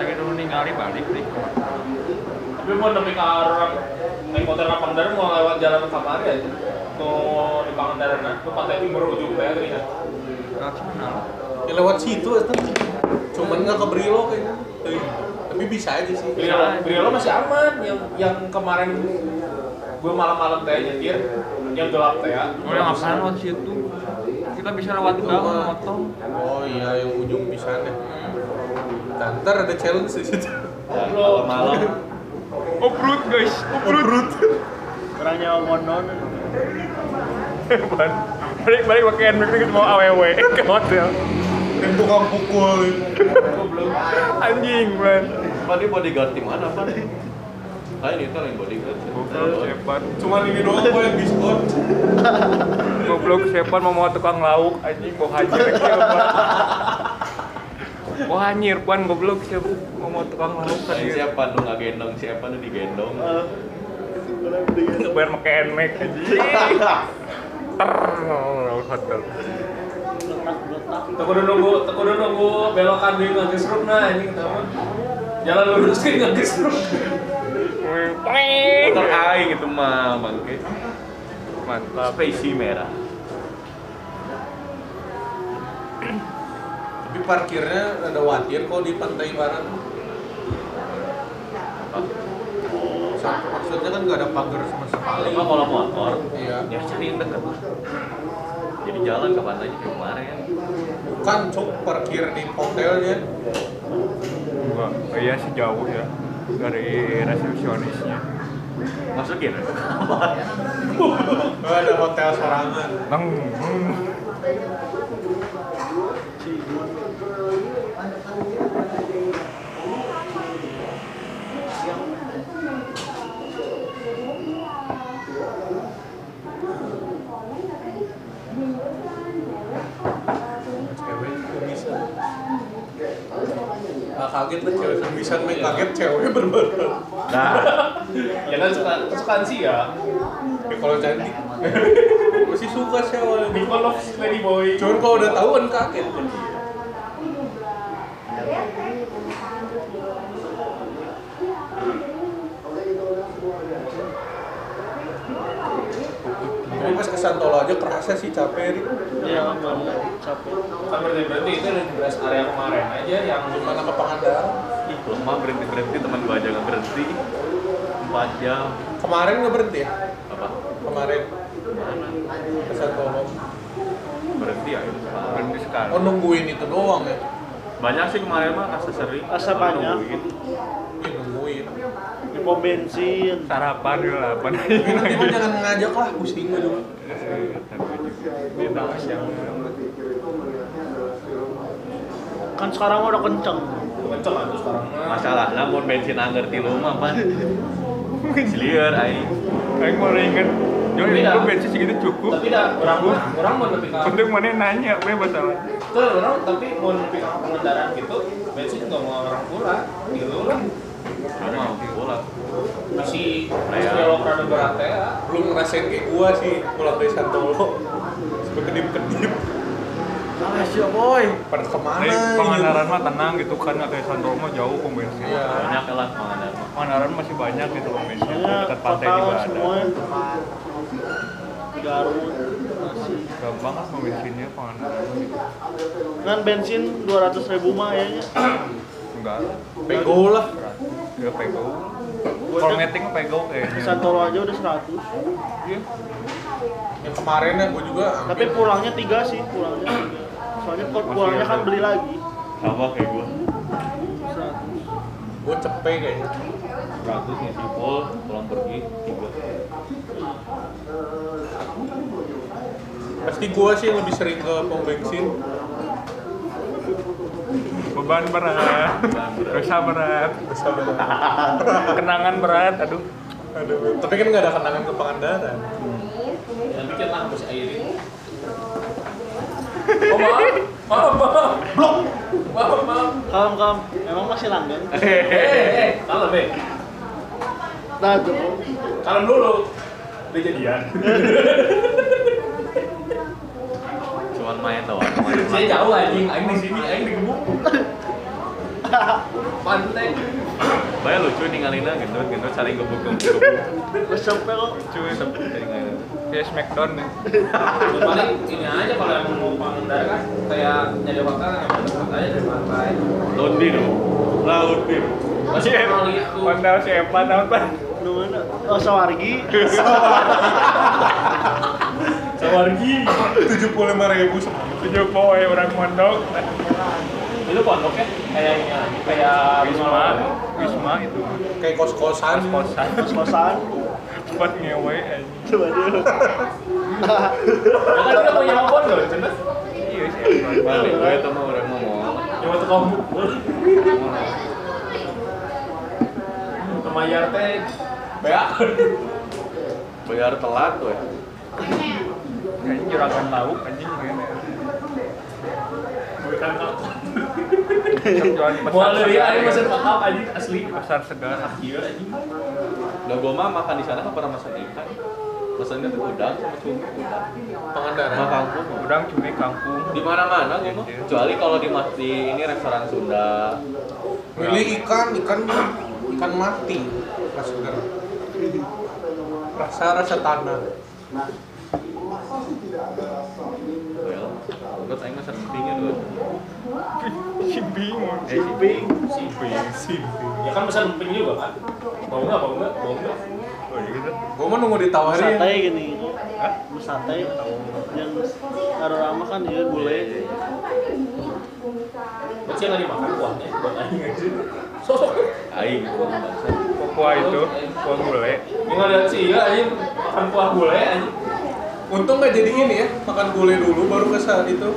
[SPEAKER 7] Lagi dulu ningali balik nih.
[SPEAKER 2] Tapi mau nepi ka orang naik motor ka Pangandaran mau lewat jalan Kamari aja. Mau di Pangandaran nah, ke pantai timur ujung teh teh. ya.
[SPEAKER 7] Nah, cuman
[SPEAKER 1] ya lewat situ itu cuman nggak ke Brilo kayaknya tapi, tapi bisa aja sih
[SPEAKER 2] Brilo, Brilo masih aman yang yang kemarin gue malam-malam teh nyetir yang gelap teh ya.
[SPEAKER 7] Udah ngapain lewat situ? Kita bisa lewat gang, motong.
[SPEAKER 1] oh iya yang ujung bisa deh Nah, ntar ada challenge di situ
[SPEAKER 4] Kalau malam
[SPEAKER 7] Obrut Oh, guys, obrut.
[SPEAKER 5] orangnya ngonon
[SPEAKER 7] balik balik pakai handbag kita mau aww ke hotel.
[SPEAKER 1] yang tukang pukul
[SPEAKER 7] Anjing man.
[SPEAKER 4] tadi bodyguard tim mana pan? Lain itu lain bodyguard.
[SPEAKER 7] Goblok
[SPEAKER 4] Eh,
[SPEAKER 7] Sepan,
[SPEAKER 1] cuman ini doang gue yang diskon
[SPEAKER 7] goblok Sepan mau mau tukang lauk anjing mau hajar siapa? Wah anjir pan goblok siapa mau mau tukang lauk kan
[SPEAKER 4] Lain siapa lu nggak gendong siapa lu digendong?
[SPEAKER 5] Eh, orang beli-
[SPEAKER 7] Bayar pakai handbag anjing.
[SPEAKER 1] Iya.
[SPEAKER 7] Ter hotel.
[SPEAKER 2] Tekudu nunggu, tekudu nunggu belokan di ngegesruk nah ini kita mah. Jalan lurus ke ngegesruk.
[SPEAKER 7] Peng.
[SPEAKER 4] Motor gitu, aing itu mah bangke.
[SPEAKER 7] Mantap.
[SPEAKER 4] Spacey merah.
[SPEAKER 1] tapi parkirnya ada watir kok di pantai barat Sa- maksudnya kan nggak ada pagar sama sekali
[SPEAKER 4] Kalau kalau motor,
[SPEAKER 1] Iya.
[SPEAKER 4] ya cari yang dekat lah. Jadi jalan kapan aja kayak kemarin.
[SPEAKER 1] bukan cok parkir di hotelnya
[SPEAKER 7] Enggak, oh, iya sejauh ya dari resepsionisnya.
[SPEAKER 4] Masukin.
[SPEAKER 1] Nggak ada hotel sorangan
[SPEAKER 7] Neng. hmm.
[SPEAKER 9] ya?
[SPEAKER 1] cewek kumisan nggak kaget lah cewek kumisan main kaget cewek berbadan
[SPEAKER 4] Nah,
[SPEAKER 2] Ya kan suka kesukaan sih ya.
[SPEAKER 1] ya kalau cantik masih suka sih awalnya
[SPEAKER 2] People of Lady Boy.
[SPEAKER 1] cuman kalau udah tahu kan kaget Tapi pas ke Santolo aja kerasa sih capek
[SPEAKER 5] Iya, ngonon, capek.
[SPEAKER 2] Kan berarti berarti itu dari rest area kemarin aja yang
[SPEAKER 1] Gimana ke Pangandaran
[SPEAKER 4] ih lemah berhenti berhenti teman gua aja nggak berhenti. Empat jam
[SPEAKER 1] Kemarin nggak berhenti ya?
[SPEAKER 4] apa?
[SPEAKER 1] Kemarin Ke Santolo
[SPEAKER 4] Berhenti ya. itu.
[SPEAKER 7] Berhenti sekali.
[SPEAKER 1] Oh nungguin itu doang ya?
[SPEAKER 4] Banyak sih kemarin mah rasa sering.
[SPEAKER 5] Rasa banyak.
[SPEAKER 4] Nungguin.
[SPEAKER 1] Iya nungguin
[SPEAKER 5] Di pom bensin
[SPEAKER 7] Sarapan dulu lah, pan.
[SPEAKER 1] Tapi Ya, nanti mah jangan ngajak lah, pusing gue dulu
[SPEAKER 5] kan sekarang udah kenceng
[SPEAKER 2] kenceng aja sekarang.
[SPEAKER 4] Masalah namun bensin angker di rumah pan. Silier aing.
[SPEAKER 7] Aing mau inget. Jangan
[SPEAKER 2] Tapi dah.
[SPEAKER 7] itu bensin segitu gitu, cukup.
[SPEAKER 2] Tapi dah orang mah orang mau nepi ka
[SPEAKER 7] Untung mana nanya, gue masalah.
[SPEAKER 2] Tuh, orang tapi mau nepi ka pengendaraan gitu, bensin nggak mau orang kurang gitu lah.
[SPEAKER 4] Normal pulang.
[SPEAKER 2] Masih masih
[SPEAKER 4] Raya.
[SPEAKER 2] belok rada berat teh. ya.
[SPEAKER 1] Belum ngerasain kayak gua sih pulang dari Santolo Sampai kedip-kedip
[SPEAKER 4] Salah
[SPEAKER 1] Masya boy. Pada kemana?
[SPEAKER 7] Jadi
[SPEAKER 1] ini?
[SPEAKER 7] Pangandaran mah tenang gitu kan nggak kayak Sandromo jauh pom bensin.
[SPEAKER 1] Iya.
[SPEAKER 4] banyak lah penganan
[SPEAKER 7] Pangandaran masih banyak gitu pom bensin.
[SPEAKER 5] Saya
[SPEAKER 7] Dekat pantai
[SPEAKER 5] kota
[SPEAKER 7] juga ada.
[SPEAKER 5] Iya, semua ya. Garut masih
[SPEAKER 7] Gampang lah pom bensinnya Pangandaran mah gitu.
[SPEAKER 5] kan bensin 200 ribu mah kayaknya
[SPEAKER 7] Enggak.
[SPEAKER 1] Pego lah.
[SPEAKER 7] Ya pego. Kalau meeting mah pego
[SPEAKER 5] di
[SPEAKER 7] kayaknya.
[SPEAKER 5] Santoro aja udah 100
[SPEAKER 7] gitu. Iya.
[SPEAKER 1] Yang kemarin ya gue juga.
[SPEAKER 5] tapi pulangnya tiga sih pulangnya tiga. soalnya kalau pulangnya kan beli lagi
[SPEAKER 4] sama kayak gue
[SPEAKER 5] 100
[SPEAKER 1] Gue cepe kayaknya.
[SPEAKER 4] 100 ngisi full pulang pergi tiga
[SPEAKER 1] Pasti gue sih yang lebih sering ke pom bensin.
[SPEAKER 7] Beban berat. Dosa berat.
[SPEAKER 1] Bisa banget.
[SPEAKER 7] Kenangan berat. Aduh.
[SPEAKER 1] Aduh. Tapi kan nggak ada kenangan ke Pangandaran.
[SPEAKER 2] Dan bikin lah masih air ini.
[SPEAKER 5] kalem kalem emang masih langgeng
[SPEAKER 2] Eh, kalem eh.
[SPEAKER 5] nah tuh
[SPEAKER 2] Kalem dulu. Udah
[SPEAKER 7] Iya.
[SPEAKER 2] jadian.
[SPEAKER 4] cuman main doang main
[SPEAKER 2] Saya jauh anjing, aing di sini, aing di gebuk. Pantai.
[SPEAKER 4] Bayar lucu nih ngalina gendut gendut saling gebuk gebuk
[SPEAKER 5] besok lo
[SPEAKER 4] lucu sampai saling ngalina
[SPEAKER 7] Kayak smackdown nih.
[SPEAKER 2] Ya, paling ini aja kalau emang mau pengendara kan kayak nyari waktu kan emang dekat aja dari pantai.
[SPEAKER 4] laut biru laut biru
[SPEAKER 2] Masih gitu. emang lihat tuh.
[SPEAKER 7] Honda Iya. siapa nonton?
[SPEAKER 5] lu mana oh sawargi
[SPEAKER 7] Sawargi.
[SPEAKER 1] Tujuh puluh lima ribu
[SPEAKER 7] Tujuh poe orang mondok.
[SPEAKER 2] Itu pondoknya kayak ini aja, kayak
[SPEAKER 7] Wisma. Wisma itu.
[SPEAKER 1] kayak kos kosan.
[SPEAKER 7] Kosan.
[SPEAKER 5] pas kosan
[SPEAKER 7] Tempat ngewe. anjing.
[SPEAKER 5] coba dulu
[SPEAKER 2] Ya kan udah punya handphone loh, cenah.
[SPEAKER 7] Iya sih.
[SPEAKER 4] balik gue itu mau orang ngomong
[SPEAKER 2] Cuma tuh kamu. Kemayar teh. Bea.
[SPEAKER 4] bayar telat tuh ya
[SPEAKER 7] Kayaknya juragan lauk anjing kayaknya.
[SPEAKER 2] Bukan aku.
[SPEAKER 7] Jualan di
[SPEAKER 2] Mau
[SPEAKER 7] pasar
[SPEAKER 2] lihat aing
[SPEAKER 7] segar.
[SPEAKER 2] mesen kakak anjing asli.
[SPEAKER 7] Pasar segar.
[SPEAKER 2] Iya anjing.
[SPEAKER 4] udah gue mah makan di sana kan pernah masak ikan pesannya tuh udang sama cumi udang sama
[SPEAKER 1] Pangandaran.
[SPEAKER 4] kangkung
[SPEAKER 7] Udang cumi kangkung.
[SPEAKER 4] di mana mana gue
[SPEAKER 7] Iya.
[SPEAKER 4] mah kecuali kalau di mati ini restoran Sunda
[SPEAKER 1] Milih ikan, ikan ikan mati. Mas segar. Rasa rasa tanah.
[SPEAKER 4] well gue tanya mesen empingnya dulu
[SPEAKER 7] Cibing.
[SPEAKER 4] eh sih
[SPEAKER 2] Ya kan pesan emping juga kan. Mau enggak, mau enggak, mau enggak.
[SPEAKER 7] Oh iya gitu.
[SPEAKER 1] Gue mau nunggu ditawarin.
[SPEAKER 5] sate gini Menu sate yang aroma kan ya gulai
[SPEAKER 2] Bocil enggak dimakan kuahnya eh, buat anjing anjing. Sosok.
[SPEAKER 4] aing gue mah bangsa.
[SPEAKER 7] Kuah itu, kuah gulai.
[SPEAKER 2] Ini ngeliat sih ya anjing makan kuah gulai anjing.
[SPEAKER 1] Untung nggak jadi ini ya, makan gulai dulu baru ke saat itu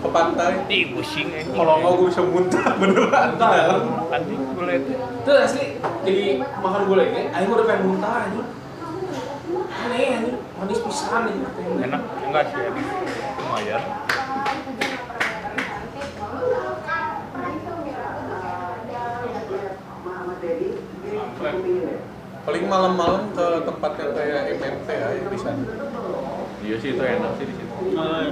[SPEAKER 1] ke pantai.
[SPEAKER 7] Di pusing anjing.
[SPEAKER 1] Kalau nggak gue bisa muntah beneran di dalam.
[SPEAKER 7] anjing gulai itu.
[SPEAKER 2] Itu asli jadi makan gulai kayak anjing udah pengen muntah anjing. Aneh anjing, manis pisan anjing.
[SPEAKER 7] Enak enggak sih enak. Lumayan.
[SPEAKER 1] Paling malam-malam ke tempat yang kayak MMT ya yang bisa.
[SPEAKER 4] iya sih itu enak sih di situ
[SPEAKER 5] Nah,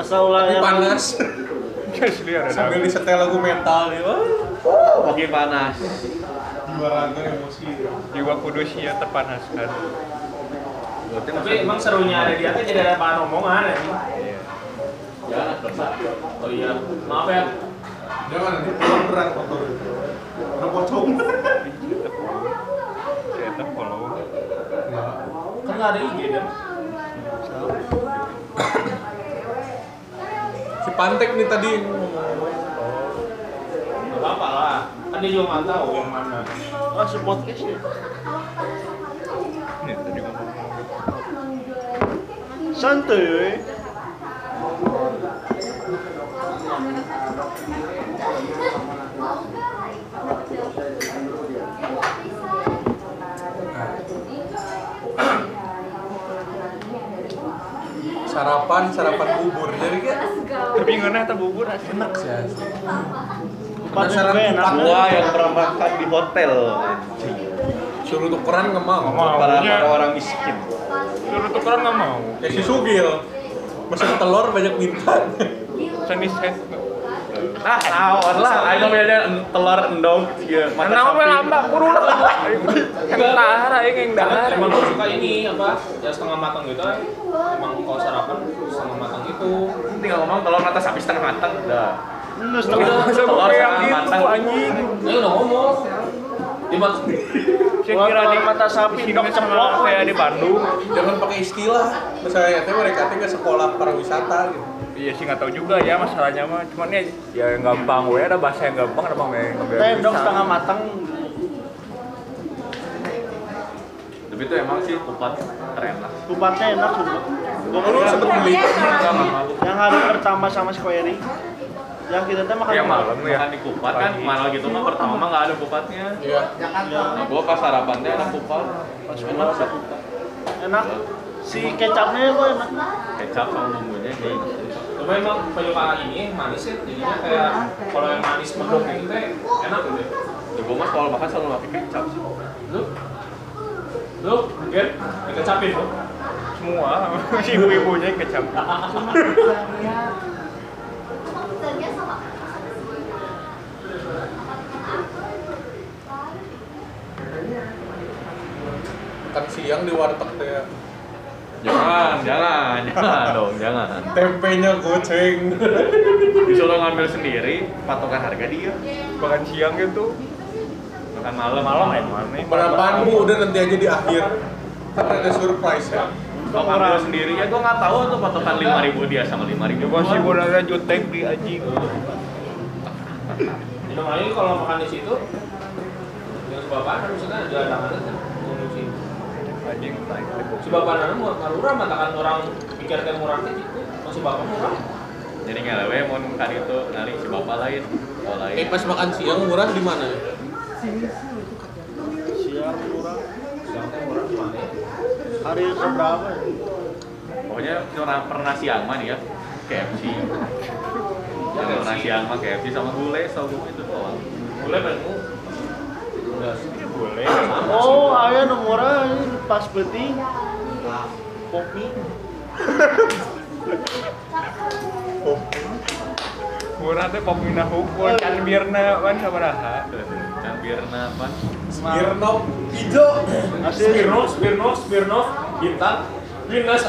[SPEAKER 5] asal ulah
[SPEAKER 1] Tapi
[SPEAKER 5] yang
[SPEAKER 1] panas
[SPEAKER 7] Asli ada
[SPEAKER 1] sambil
[SPEAKER 7] dagu.
[SPEAKER 1] disetel lagu metal ya. Wah,
[SPEAKER 4] pagi panas
[SPEAKER 1] Juara tuh emosi.
[SPEAKER 7] Jiwa ya, kudusnya
[SPEAKER 4] gue
[SPEAKER 7] terpanaskan.
[SPEAKER 4] tuh
[SPEAKER 2] Tapi
[SPEAKER 4] mesen
[SPEAKER 2] emang serunya ada dia teh jadi ada bahan omongan anjing.
[SPEAKER 4] jangan besar
[SPEAKER 2] Oh iya, maaf ya.
[SPEAKER 1] Jangan nanti pulang berat motor. Udah pocong.
[SPEAKER 7] Saya tuh follow.
[SPEAKER 2] Kan nggak ada IG dan
[SPEAKER 1] Si Pantek nih tadi ngomong-ngomong.
[SPEAKER 2] nggak apa-apa lah. Kan dia juga nggak tahu yang mana.
[SPEAKER 5] ah support cash ya
[SPEAKER 7] Ini tadi ngomong.
[SPEAKER 5] santai
[SPEAKER 1] sarapan sarapan bubur jadi kan
[SPEAKER 7] Tapi ngena eta bubur asli.
[SPEAKER 1] enak sih asli. Penasaran
[SPEAKER 5] Penasaran enak ya.
[SPEAKER 1] kupat.
[SPEAKER 4] gua yang perambakan di hotel anjing.
[SPEAKER 1] suruh tukeran nggak mau
[SPEAKER 7] Nggak mau.
[SPEAKER 4] para
[SPEAKER 7] Maunya-
[SPEAKER 4] para orang miskin
[SPEAKER 7] Suruh tukeran nggak mau.
[SPEAKER 1] ya si Eh, Sugil Masuk telur banyak bintan.
[SPEAKER 7] Chinese head.
[SPEAKER 4] Ah, naon lah, ayo beda telur endog ieu. mata
[SPEAKER 7] Kenapa
[SPEAKER 4] sapi.
[SPEAKER 7] lambak? Kudu lah. Yang dahar, aing yang dahar.
[SPEAKER 2] emang gue suka ini apa yang setengah matang gitu kan emang kalau sarapan setengah matang itu
[SPEAKER 4] Tinggal ngomong telur mata sapi setengah matang. Udah.
[SPEAKER 5] Nus
[SPEAKER 4] Udah,
[SPEAKER 5] tengah.
[SPEAKER 7] Saya mau
[SPEAKER 4] telur
[SPEAKER 7] kayak
[SPEAKER 4] setengah matang.
[SPEAKER 7] gitu anjing.
[SPEAKER 2] ya udah ngomong dia mas
[SPEAKER 7] Saya kira di
[SPEAKER 5] mata sapi
[SPEAKER 7] sini
[SPEAKER 5] dok ceplok.
[SPEAKER 7] sama kayak di Bandung.
[SPEAKER 1] Jangan pakai istilah. Misalnya teh mereka teh ke sekolah pariwisata gitu.
[SPEAKER 7] Iya sih nggak tahu juga ya masalahnya mah. Cuman ya ya yang gampang we ada bahasa yang gampang ada bang yang ngambil
[SPEAKER 5] Teh dok
[SPEAKER 7] bisa.
[SPEAKER 5] setengah matang.
[SPEAKER 4] Tapi itu emang sih kupat keren lah.
[SPEAKER 5] Kupatnya enak juga.
[SPEAKER 1] Lu sempet beli
[SPEAKER 4] Enggak mahal.
[SPEAKER 5] Yang hari pertama sama square yang kita teh makan
[SPEAKER 7] Yang malam ya.
[SPEAKER 4] Iya, Makan di kupat kan mahal gitu mah pertama mah nggak ada kupatnya.
[SPEAKER 1] Iya.
[SPEAKER 4] Nah, gua pas sarapannya ada kupat. Pas emang ada kupat.
[SPEAKER 5] enak si kecapnya itu enak
[SPEAKER 4] Kecap sama bumbunya ini.
[SPEAKER 2] cuma
[SPEAKER 7] ya,
[SPEAKER 2] emang penyuka ini manis ya jadinya kayak kalau yang manis mendung gitu teh enak gitu ya
[SPEAKER 4] Ya gua mah kalau makan selalu pakai kecap sih.
[SPEAKER 2] lu lu get dikecapin lu
[SPEAKER 7] Semua si ibu-ibunya yang kecap.
[SPEAKER 1] Makan siang di warteg ya. teh.
[SPEAKER 4] Jangan, jangan, jangan dong, jangan.
[SPEAKER 1] Tempenya goceng.
[SPEAKER 4] Disuruh ngambil sendiri, patokan harga dia.
[SPEAKER 7] Makan siang gitu.
[SPEAKER 4] Makan malam.
[SPEAKER 7] Malam ya malam.
[SPEAKER 1] Berapaan bu? Udah nanti aja di akhir. Kan ada surprise ya.
[SPEAKER 4] Gua ngambil sendiri ya, gua nggak tahu tuh patokan 5000 dia sama 5000.
[SPEAKER 7] Coba sih gua ada jutek di anjing.
[SPEAKER 2] minum aja kalau makan di situ yang sebabana maksudnya jalanan kan konsumsi
[SPEAKER 7] Anjing naik.
[SPEAKER 2] sebabana mau ngarurah matakan orang pikir teh murah teh gitu masih bapak murah
[SPEAKER 4] Jadi ngelewe mau nungkan itu, nari si bapak lain. Oh lain.
[SPEAKER 1] Eh pas makan siang murah di mana? ya?
[SPEAKER 2] siang teh murah gimana ya
[SPEAKER 5] hari keberapa ya?
[SPEAKER 4] Pokoknya pernah, pernah siang mah nih ya, KFC.
[SPEAKER 2] Ya,
[SPEAKER 4] Yang pernah
[SPEAKER 2] KFC.
[SPEAKER 4] siang mah KFC sama gulai, sama itu doang.
[SPEAKER 2] boleh pengen udah
[SPEAKER 7] Boleh.
[SPEAKER 5] oh ayah nu murah ini pas beti kopi
[SPEAKER 7] Murah teh pamina hukum kan birna kan sabaraha.
[SPEAKER 4] Kan biar napan.
[SPEAKER 1] Mirno hijau.
[SPEAKER 5] asli
[SPEAKER 2] Spirnov, Spirnov, Spirnov, bintang, Winas.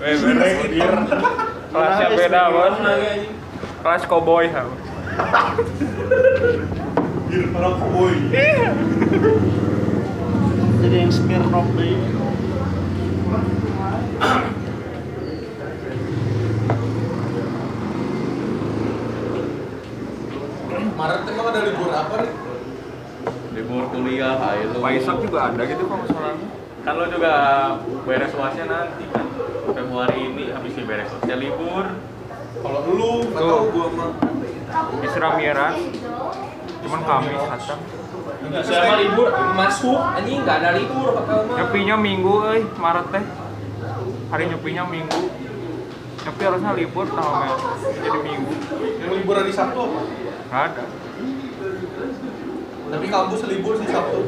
[SPEAKER 7] Weh, beda modir. Kelasnya beda bos. Kelas cowboy ha.
[SPEAKER 1] Mirno boy.
[SPEAKER 5] jadi yang smirnoff deh
[SPEAKER 1] Maret emang ada libur apa nih?
[SPEAKER 4] Libur kuliah, ayo lu.
[SPEAKER 7] Waisak juga ada gitu kok misalnya.
[SPEAKER 4] Kan lo juga beres wasnya nanti kan. Februari ini habis ini beres wasnya libur.
[SPEAKER 1] Kalau lu, nggak tahu gua mah.
[SPEAKER 7] Isra Miras. Cuman Kamis Hasan.
[SPEAKER 2] Siapa libur? Masuk, anjing nggak ada libur bakal mah.
[SPEAKER 7] Nyepinya Minggu euy, Maret teh. Hari nyepinya Minggu. Nyepi harusnya libur tanggal merah. Jadi Minggu.
[SPEAKER 1] Yang libur hari Sabtu apa?
[SPEAKER 7] Enggak ada.
[SPEAKER 1] Tapi kampus libur sih Sabtu.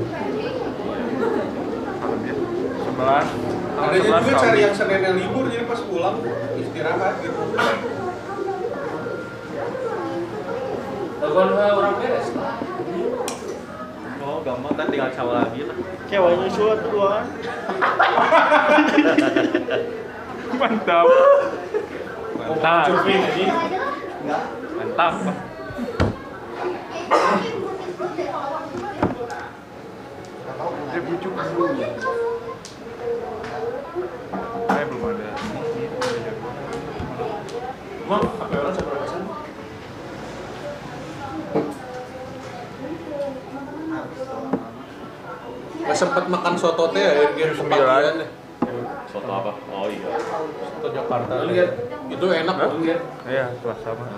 [SPEAKER 7] Sebelas. Tanggal
[SPEAKER 1] Adanya
[SPEAKER 7] sebelas
[SPEAKER 1] juga cari
[SPEAKER 7] Kamis.
[SPEAKER 1] yang Senin yang libur, jadi pas pulang istirahat gitu.
[SPEAKER 2] Telepon eh, orang beres.
[SPEAKER 4] Oh gampang kan tinggal cawa lagi lah.
[SPEAKER 5] kewanya suat tuan
[SPEAKER 7] Mantap. Mantap.
[SPEAKER 2] Cupin anjing.
[SPEAKER 7] Mantap. Saya bujuk dulu. Saya belum ada.
[SPEAKER 2] Emang apa orang seberapa persen?
[SPEAKER 1] Gak sempet makan soto teh ya, yang
[SPEAKER 7] Jam
[SPEAKER 1] kepagian
[SPEAKER 7] sembilan.
[SPEAKER 1] ya.
[SPEAKER 4] Soto apa? Oh iya.
[SPEAKER 1] Soto Jakarta.
[SPEAKER 2] Lu lihat,
[SPEAKER 1] Itu enak
[SPEAKER 7] Hah?
[SPEAKER 1] loh.
[SPEAKER 7] Iya, selasa mah.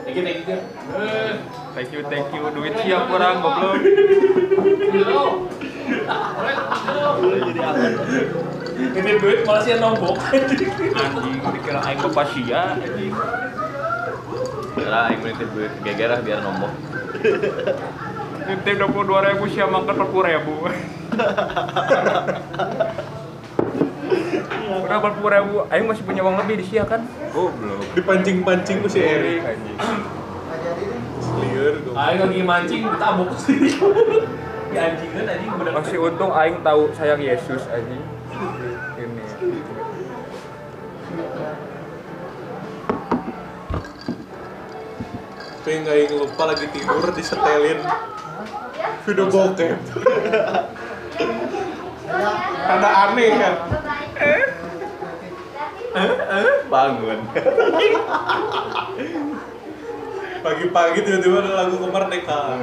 [SPEAKER 2] dikit dikit. Eh,
[SPEAKER 7] Thank you, thank you. Duit siap kurang goblok.
[SPEAKER 2] halo. Ini duit malah sih yang nombok.
[SPEAKER 7] Anjing, dikira aing kepasia. Anjing.
[SPEAKER 4] Karena yang menitip gue gegerah biar nombok.
[SPEAKER 7] Nitip 22 ribu siap mangkat 40 ribu. delapan puluh ribu, Aing masih punya uang lebih di Sia kan?
[SPEAKER 1] Goblok. Dipancing-pancing ku si Erik
[SPEAKER 7] Iya.
[SPEAKER 1] anjing. Liar goblok.
[SPEAKER 2] Aing lagi mancing, tabok sih. Ya anjing kan anjing bener.
[SPEAKER 7] Masih untung Aing tahu sayang Yesus aja. Ini.
[SPEAKER 1] Tapi nggak yang lupa lagi tidur disetelin video bokep. Rada aneh kan. Eh?
[SPEAKER 4] bangun
[SPEAKER 1] Pagi-pagi tiba-tiba ada lagu kemerdekaan.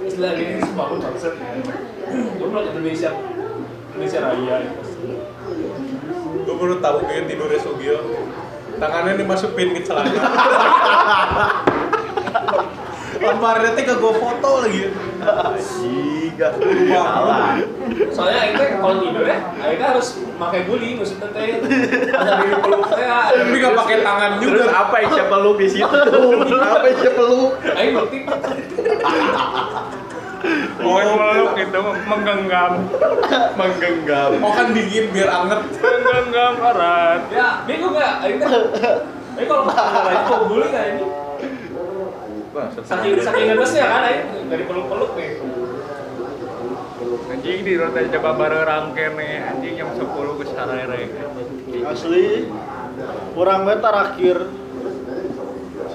[SPEAKER 2] Istilah ini sembangun bangsa. Goblok Indonesia. Indonesia raya.
[SPEAKER 1] Gue baru tahu kayak tidurnya Sugio. Tangannya dimasukin ke celana. Lemparnya teh gak gue foto lagi. Iya.
[SPEAKER 5] Jiga.
[SPEAKER 1] Salah.
[SPEAKER 2] Soalnya Aing teh kalau tidur ya, Aing teh harus pakai guling maksudnya teh. Ada di peluk teh. ada
[SPEAKER 1] Tapi
[SPEAKER 2] di-
[SPEAKER 1] gak pakai tangan juga.
[SPEAKER 4] terus apa yang siapa lu di situ
[SPEAKER 5] Apa sih peluk?
[SPEAKER 2] Aing bukti
[SPEAKER 7] Pokoknya meluk itu menggenggam,
[SPEAKER 4] menggenggam
[SPEAKER 1] Oh kan dingin biar anget.
[SPEAKER 7] menggenggam erat.
[SPEAKER 2] Ya, bingung gak? Ini kan Ini kalau nggak lagi kok guling gak ini? Saking saking ngenesnya kan ini dari peluk-peluk eh. nih.
[SPEAKER 7] Anjing di rota coba baru rangke nih, anjing yang 10 ke sarerek.
[SPEAKER 5] Asli. Kurang banget terakhir.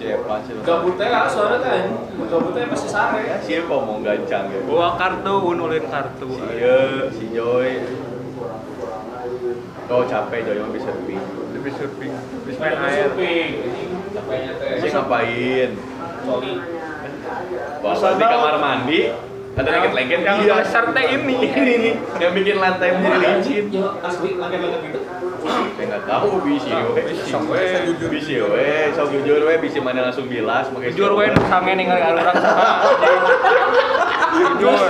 [SPEAKER 4] siapa sih lu?
[SPEAKER 2] Gabutnya lah suara kan. Gabutnya pasti sare ya.
[SPEAKER 4] siapa mau gancang ya
[SPEAKER 7] Bawa kartu, unulin kartu.
[SPEAKER 4] iya si Joy kau capek Joy mau bisa lebih
[SPEAKER 7] Lebih surfing, lebih main
[SPEAKER 2] Main
[SPEAKER 7] air.
[SPEAKER 2] shopping. ini Capeknya eh, teh.
[SPEAKER 4] sih ngapain
[SPEAKER 2] Coli.
[SPEAKER 4] Bahkan di kamar mandi ada lengket-lengket
[SPEAKER 7] Yang
[SPEAKER 4] Iya.
[SPEAKER 7] dasar teh ini. Iya.
[SPEAKER 4] ini nih yang bikin lantai menjadi licin
[SPEAKER 2] Ya, asli langit-langit gitu.
[SPEAKER 4] saya nggak tahu bisi we eh. bisi we so eh. jujur we bisi mana langsung bilas pakai
[SPEAKER 7] Jujur we
[SPEAKER 4] siapa.
[SPEAKER 7] nu sange ningali aluran sana. Jujur.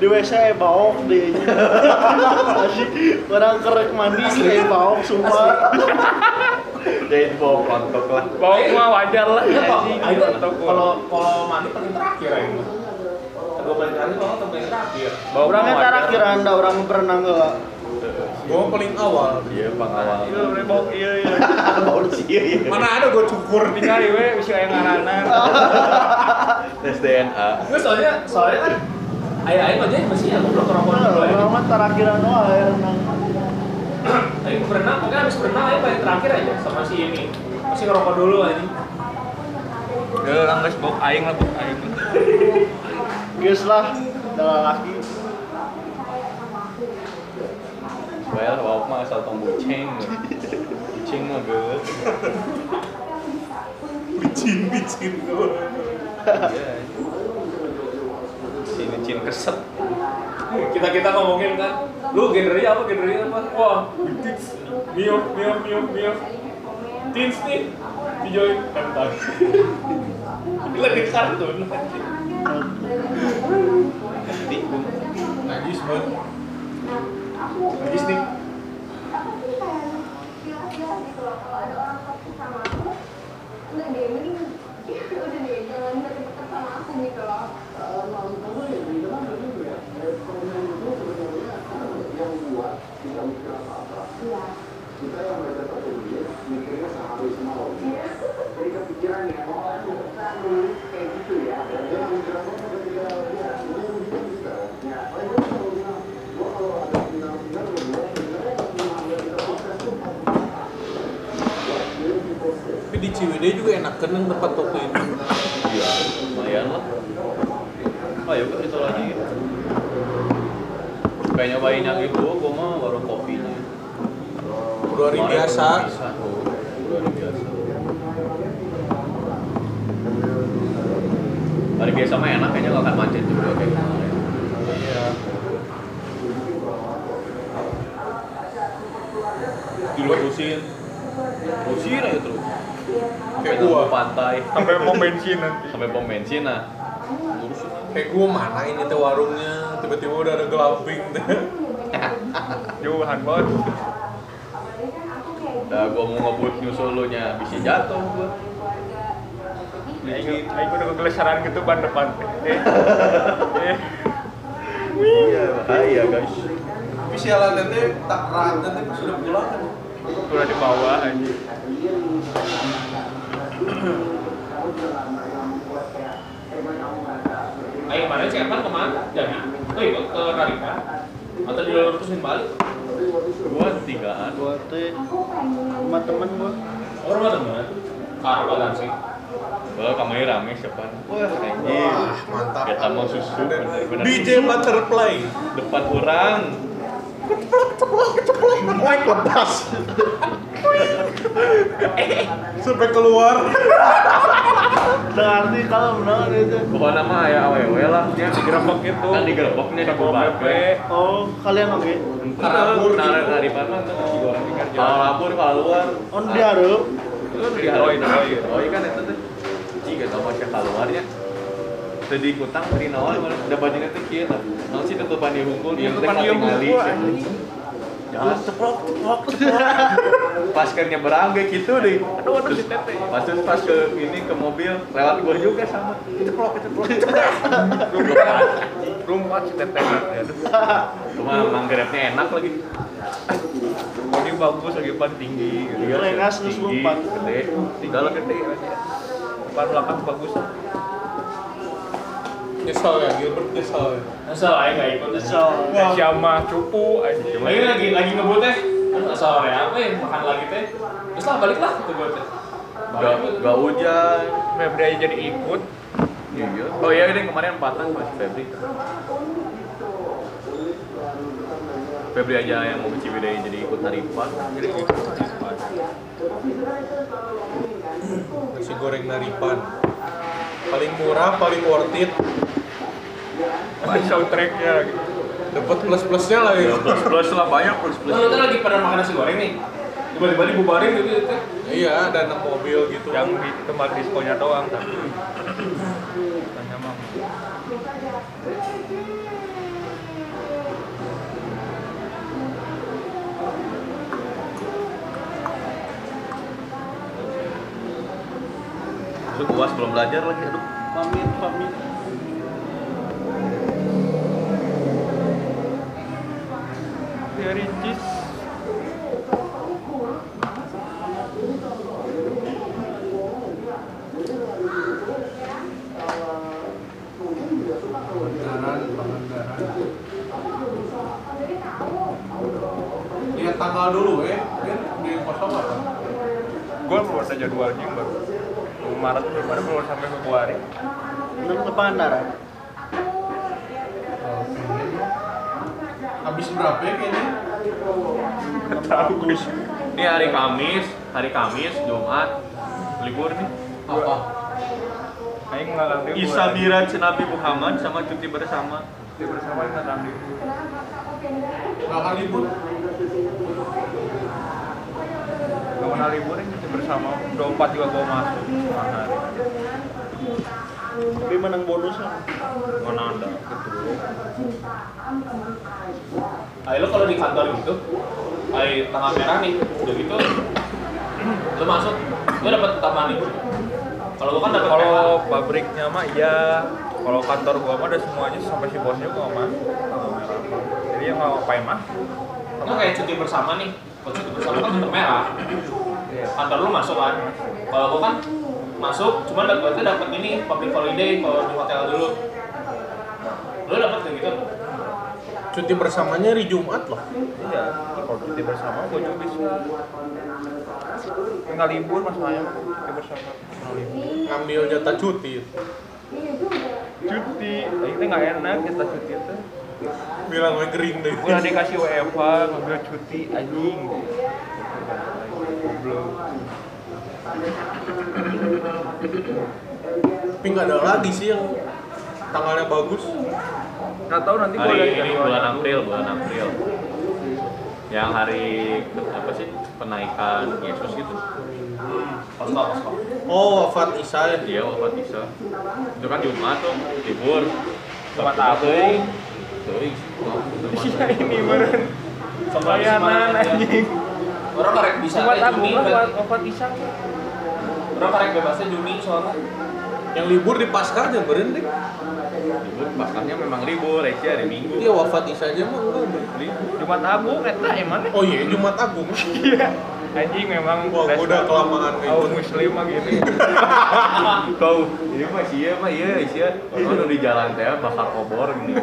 [SPEAKER 5] Di WC baok deh. Asli. Kurang kerek mandi sih baok sumpah.
[SPEAKER 7] eh.
[SPEAKER 4] jahit bawa pelontok lah
[SPEAKER 7] Bawa mah wajar lah.
[SPEAKER 2] Iya, Pak.
[SPEAKER 7] anjing.
[SPEAKER 2] Ayo,
[SPEAKER 7] Atau gua-
[SPEAKER 2] Kalau kalau mandi paling terakhir ya. Kalau paling terakhir, kalau paling terakhir.
[SPEAKER 7] bawa mah
[SPEAKER 5] Orangnya
[SPEAKER 7] wajar.
[SPEAKER 5] terakhir anda orang berenang gak?
[SPEAKER 1] Gue paling awal.
[SPEAKER 4] iya pengawal
[SPEAKER 7] Iya, boleh bawa. Iya, iya.
[SPEAKER 4] bau sih iya
[SPEAKER 1] Mana ada gue cukur di
[SPEAKER 7] Tinggal we bisa yang ngaranan.
[SPEAKER 4] tes DNA
[SPEAKER 2] Nggak, soalnya soalnya kan ayah-ayah aja masih ya, aku belum ngerokok dulu ya.
[SPEAKER 5] Orang mah terakhir anda air renang.
[SPEAKER 2] Aing berenang, pokoknya habis berenang aing paling terakhir aja sama si ini. Masih ngerokok dulu aja.
[SPEAKER 7] Ya orang guys bawa aing lah bawa aing.
[SPEAKER 5] Guys lah, dalam laki.
[SPEAKER 4] well bawa mah asal tong bucing bucing mah geus
[SPEAKER 1] bicin-bicin gue.
[SPEAKER 4] si licin keset
[SPEAKER 2] Kita kita ngomongin kan, lu genrenya apa genrenya apa? Wah, tits, miof, miof, miof, miof, tins nih, dijoin kentang. Lagi kartun.
[SPEAKER 1] Najis banget.
[SPEAKER 2] Lagi nih.
[SPEAKER 1] Tapi di Ciwidey juga enak kenang tempat toko itu.
[SPEAKER 4] iya lumayan lah ayo kan itu lagi kayak nyobain yang itu gua mah baru kopinya
[SPEAKER 1] Dua hari
[SPEAKER 4] Kemarin
[SPEAKER 1] biasa.
[SPEAKER 4] baru bisa. Oh, dua hari biasa hari biasa mah enak kayaknya gak akan macet juga kayak kemarin
[SPEAKER 1] Iya.
[SPEAKER 4] dilurusin terusin aja terus
[SPEAKER 1] Kayak
[SPEAKER 4] sampai
[SPEAKER 1] gua.
[SPEAKER 4] ke pantai
[SPEAKER 7] Sampai mau bensin nanti.
[SPEAKER 4] sampai pom bensin nah lurusin
[SPEAKER 1] Kayak gue mana ini teh warungnya. Tiba-tiba udah ada glamping teh.
[SPEAKER 7] Jauhan banget.
[SPEAKER 4] Dah gua mau ngebut nyusul lu nya, bisa jatuh gua.
[SPEAKER 7] Aing aing udah kegelesaran gitu ban depan. Eh. Eh.
[SPEAKER 4] Iya, bahaya guys.
[SPEAKER 5] Tapi
[SPEAKER 1] sialan nanti tak rahat nanti pas udah pulang kan
[SPEAKER 7] udah dibawa aja
[SPEAKER 2] Ayo kemarin si Evan kemana? Jadi, oh iya ke Narita Atau di dalam terus balik?
[SPEAKER 4] Gua tigaan.
[SPEAKER 5] Gua teh rumah temen gua.
[SPEAKER 2] Oh rumah teman? Karena sih
[SPEAKER 4] Wah, kamarnya rame siapa?
[SPEAKER 5] Wah.
[SPEAKER 7] Iya.
[SPEAKER 4] Anjir.
[SPEAKER 1] mantap
[SPEAKER 4] Kita mau susu bener-bener.
[SPEAKER 1] DJ Butterfly
[SPEAKER 4] depan orang.
[SPEAKER 5] Mic lepas.
[SPEAKER 1] sampai keluar
[SPEAKER 5] Dengar sih kalau benar itu.
[SPEAKER 2] Bukan nama ya aww lah Ya digerebek gitu
[SPEAKER 4] Kan digerebeknya di
[SPEAKER 2] Satpol
[SPEAKER 4] kubah.
[SPEAKER 2] PP
[SPEAKER 5] Oh, kalian oke.
[SPEAKER 4] Karabur narik dari mana? gitu. Kalau labur kalau luar.
[SPEAKER 5] On di hareup.
[SPEAKER 4] Itu kan di Roy Roy. Roy kan itu tuh. Iya, Jika tau masih keluarnya. Tadi kutang dari nawal udah bajunya tuh kieu tah. Naon sih tetepan dia hukum dia teh katingali. Jangan ceplok ceplok ceplok. Pas kan nyebrang kayak gitu deh. Aduh aduh si tete. Pas terus pas ke ini ke mobil lewat gua juga sama. Ceplok ceplok ceplok. Rumah rumah si tete. Aduh. Cuma manggrepnya enak lagi. Ini bagus lagi pan tinggi. gitu.
[SPEAKER 5] Iya, lengas, terus
[SPEAKER 4] Tinggi,
[SPEAKER 5] lompat.
[SPEAKER 4] Gede. Tinggal gede. Pan belakang bagus.
[SPEAKER 1] nyesel ya Gilbert nyesel ya
[SPEAKER 2] Asal aja gak ikut asal
[SPEAKER 7] Syama cupu aja
[SPEAKER 2] Lagi lagi lagi ngebut teh Aduh asal ya apa ya makan lagi teh Terus lah balik lah ke gue teh
[SPEAKER 4] Gak gak hujan.
[SPEAKER 7] Febri jadi ikut
[SPEAKER 4] Iya. Oh iya ini kemarin patah pas Febri. Febri aja yang mau ke Ciwidey jadi ikut tarifan. Jadi ikut tarifan.
[SPEAKER 1] nasi goreng naripan paling murah paling worth it
[SPEAKER 7] Ada soundtracknya gitu
[SPEAKER 1] dapat plus plusnya lagi
[SPEAKER 4] Ya, Plus plus lah banyak plus plus.
[SPEAKER 2] Lalu kita lagi pada makan nasi goreng nih Tiba-tiba dibubarin gitu teh
[SPEAKER 1] iya ada enam mobil gitu
[SPEAKER 7] yang di tempat diskonnya doang tapi bukannya mah
[SPEAKER 4] Itu puas belum belajar lagi aduh.
[SPEAKER 5] Pamit, pamit.
[SPEAKER 7] ya ricis
[SPEAKER 1] lihat tanggal dulu ya Ini di kosong apa
[SPEAKER 7] gue keluar saja jadwalnya baru Maret Maret keluar sampai Februari
[SPEAKER 5] Bener ke Pangandaran.
[SPEAKER 1] habis berapa ya kayaknya
[SPEAKER 7] Agus
[SPEAKER 4] Ini hari Kamis, hari Kamis, Jumat, libur nih.
[SPEAKER 1] apa
[SPEAKER 7] Aing ngalang libur
[SPEAKER 4] Isabira Cenabi Muhammad sama cuti bersama.
[SPEAKER 7] Dia bersama ngalang libur
[SPEAKER 1] makan libur
[SPEAKER 7] Gak pernah libur yang kita bersama Dompet juga gue masuk Mahal
[SPEAKER 5] Tapi menang bonusnya.
[SPEAKER 4] Monanda.
[SPEAKER 2] Ayo lo kalau di kantor gitu, ayo tanggal merah nih, udah gitu, lo masuk, lo dapat taman nih. Kalau gua kan dapat
[SPEAKER 7] Kalau
[SPEAKER 2] kalau
[SPEAKER 7] pabriknya mah iya Kalau kantor gua mah ada semuanya sampai si bosnya gua masuk Jadi yang mau ngapain mah
[SPEAKER 2] nggak kayak cuti bersama nih, kalau cuti bersama kan tetap merah.
[SPEAKER 4] Iya.
[SPEAKER 2] Kantor lo masuk kan, kalau gua kan masuk, cuman dapat itu dapat ini public holiday kalau di hotel dulu. Lo dapat kayak gitu?
[SPEAKER 1] cuti bersamanya hari Jumat loh
[SPEAKER 7] Iya Kalau cuti bersama gua juga bisa Tinggal libur masalahnya mah, cuti bersama
[SPEAKER 1] ngambil jatah cuti
[SPEAKER 7] Cuti Ini teh nggak enak kita cuti itu
[SPEAKER 1] bilang gue kering deh
[SPEAKER 7] Udah dikasih WFA, ngambil cuti anjing Belum
[SPEAKER 1] tapi nggak ada lagi sih yang tanggalnya bagus
[SPEAKER 7] Nggak tahu nanti gua
[SPEAKER 4] Hari
[SPEAKER 7] lihat
[SPEAKER 4] ini
[SPEAKER 7] jadwalnya.
[SPEAKER 4] bulan April, bulan April. Yang hari apa sih penaikan Yesus gitu?
[SPEAKER 2] Kosong, kosong.
[SPEAKER 1] oh wafat Isa
[SPEAKER 4] Iya, wafat bisa. Itu kan Jumat tuh, libur.
[SPEAKER 7] Jumat
[SPEAKER 4] Sabtu,
[SPEAKER 7] Agung.
[SPEAKER 4] teuing. Teuing.
[SPEAKER 7] Iya ini meren
[SPEAKER 2] semangat ya.
[SPEAKER 7] Bayanan Iya, anjing
[SPEAKER 2] Orang karek bisa
[SPEAKER 7] Buat
[SPEAKER 2] kayak
[SPEAKER 7] aku
[SPEAKER 2] Juni,
[SPEAKER 7] mah
[SPEAKER 2] berarti.
[SPEAKER 7] buat obat isang
[SPEAKER 2] orang karek bebasnya Juni soalnya.
[SPEAKER 1] yang libur di pasca aja berhenti
[SPEAKER 4] libur Pascanya memang libur Reci hari Minggu
[SPEAKER 1] Dia Iya, wafat Isa aja mah enggak ada.
[SPEAKER 7] Jumat Agung eta emang
[SPEAKER 1] Oh iya, Jumat Agung.
[SPEAKER 7] ya, anjing memang
[SPEAKER 1] Wah, gua udah kelamaan kayak
[SPEAKER 7] kaum
[SPEAKER 1] gitu.
[SPEAKER 7] muslim mah gini
[SPEAKER 4] Kau, iya mah iya mah iya iya. Orang udah di jalan teh bakal kobor gini.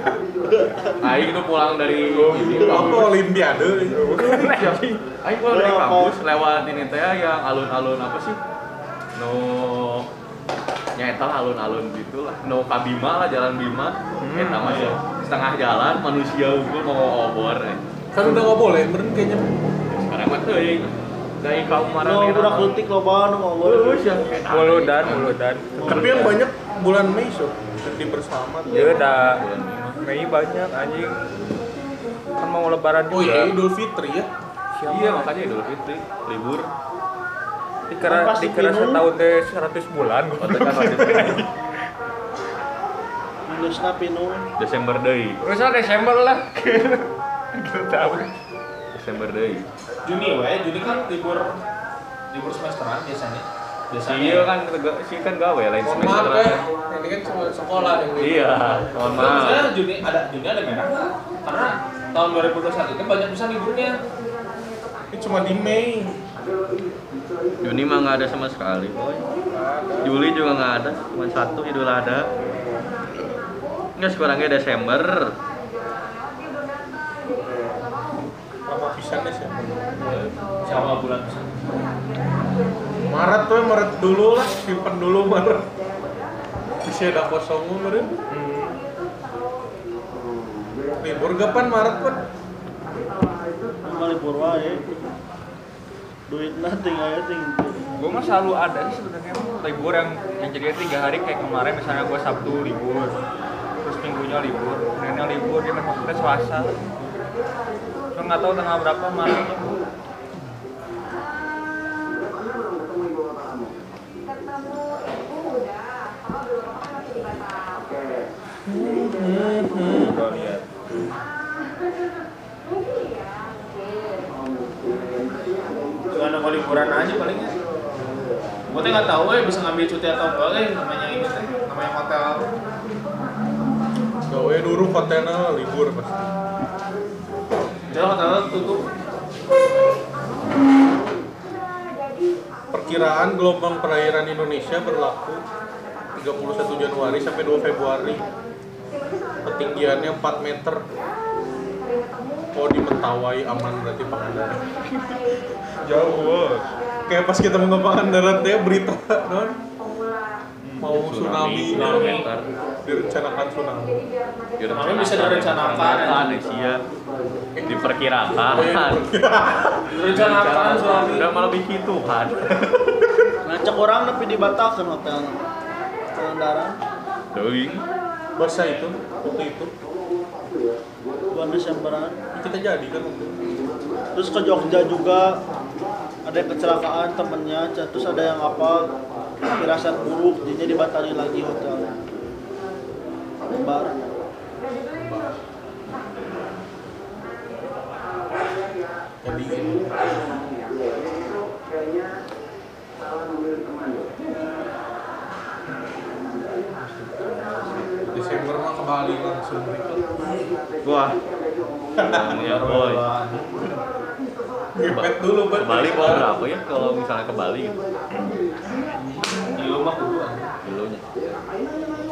[SPEAKER 4] Aing tuh pulang dari ini
[SPEAKER 1] Apa
[SPEAKER 4] kampus.
[SPEAKER 1] Olimpiade?
[SPEAKER 4] Iya. Aing pulang dari kampus lewat ini teh ya, yang alun-alun apa sih? No nyetel alun-alun gitulah. No Kabima lah jalan Bima. Eta masih setengah jalan manusia hukum mau obor. eh.
[SPEAKER 1] Kan udah nggak boleh, meren kayaknya.
[SPEAKER 4] Sekarang mah tuh ya. Dari kaum marah
[SPEAKER 5] Lo udah kritik lo banget sama Allah.
[SPEAKER 7] muludan muludan
[SPEAKER 1] Tapi yang banyak bulan Mei so, di bersama.
[SPEAKER 7] ya udah Mei banyak anjing kan mau lebaran
[SPEAKER 1] Oh iya,
[SPEAKER 7] juga
[SPEAKER 1] Idul Fitri ya.
[SPEAKER 4] Iya makanya Idul Fitri libur.
[SPEAKER 7] dikira
[SPEAKER 5] Kan pasti
[SPEAKER 7] dikira
[SPEAKER 5] bingung.
[SPEAKER 7] setahun teh 100 bulan
[SPEAKER 4] Otaknya Oh, kan masih
[SPEAKER 5] Minusna pinu.
[SPEAKER 4] Desember deui.
[SPEAKER 7] Terusnya Desember lah
[SPEAKER 4] Desember deui.
[SPEAKER 2] Juni wae, Juni kan libur libur semesteran biasanya. Biasanya.
[SPEAKER 4] Iya kan tega- sih kan gawe lain
[SPEAKER 1] Mohon
[SPEAKER 4] semester.
[SPEAKER 1] maaf ya, ini kan cuma sekolah yang libur.
[SPEAKER 4] Iya, mohon
[SPEAKER 2] Nah,
[SPEAKER 4] maaf.
[SPEAKER 2] misalnya Juni ada Juni ada merah. Karena tahun 2021 itu banyak bisa liburnya.
[SPEAKER 1] Ini cuma di Mei.
[SPEAKER 4] Juni mah nggak ada sama sekali. Juli juga nggak ada, cuma satu Idul Adha. Nggak sekurangnya Desember.
[SPEAKER 1] Lama pisannya sih.
[SPEAKER 2] Sama bulan bisa.
[SPEAKER 1] Maret tuh Maret dulu lah, simpen dulu Maret. Bisa ada kosong meren. Libur kapan Maret pun?
[SPEAKER 5] Kembali purwa ya. Duit nanti aja tinggi.
[SPEAKER 7] gue mah selalu ada sih sebenarnya libur yang yang jadinya tiga hari kayak kemarin misalnya gue sabtu libur terus minggunya libur seninnya libur dia kan maksudnya selasa cuma nggak tahu tanggal berapa malamnya
[SPEAKER 2] Cuma nunggu liburan aja palingnya. Gue teh nggak tahu eh bisa ngambil cuti atau enggak eh namanya ini teh namanya hotel.
[SPEAKER 1] Gawe dulu kontainer libur pasti.
[SPEAKER 2] Jadi hotel tutup.
[SPEAKER 1] Perkiraan gelombang perairan Indonesia berlaku 31 Januari sampai 2 Februari. Ketinggiannya 4 meter. Oh di Mentawai aman berarti Pangandaran. Jauh. bos. Kayak pas kita mau ke Pangandaran teh berita non mau tsunami,
[SPEAKER 4] Tsunami.
[SPEAKER 1] direncanakan tsunami.
[SPEAKER 4] Tsunami
[SPEAKER 2] bisa direncanakan.
[SPEAKER 4] Iya. Diperkirakan.
[SPEAKER 1] Oh, iya,
[SPEAKER 2] Rencanakan suami.
[SPEAKER 4] Udah malah bikin Tuhan.
[SPEAKER 5] Ngacak orang tapi dibatalkan hotel. Pengendara.
[SPEAKER 4] Deui.
[SPEAKER 1] Bahasa itu waktu itu
[SPEAKER 5] bulan Desemberan.
[SPEAKER 1] kita jadi kan waktu itu.
[SPEAKER 5] Terus ke Jogja juga ada yang kecelakaan temennya, terus ada yang apa firasat buruk, jadi dibatalin lagi hotel. Bar.
[SPEAKER 1] jadi Desember mah ke Bali langsung
[SPEAKER 4] Wah. Ya boy.
[SPEAKER 1] ngepet dulu
[SPEAKER 4] Ke Bali kalau berapa ya kalau misalnya ke Bali gitu?
[SPEAKER 2] Di rumah kudu.
[SPEAKER 4] Kilonya.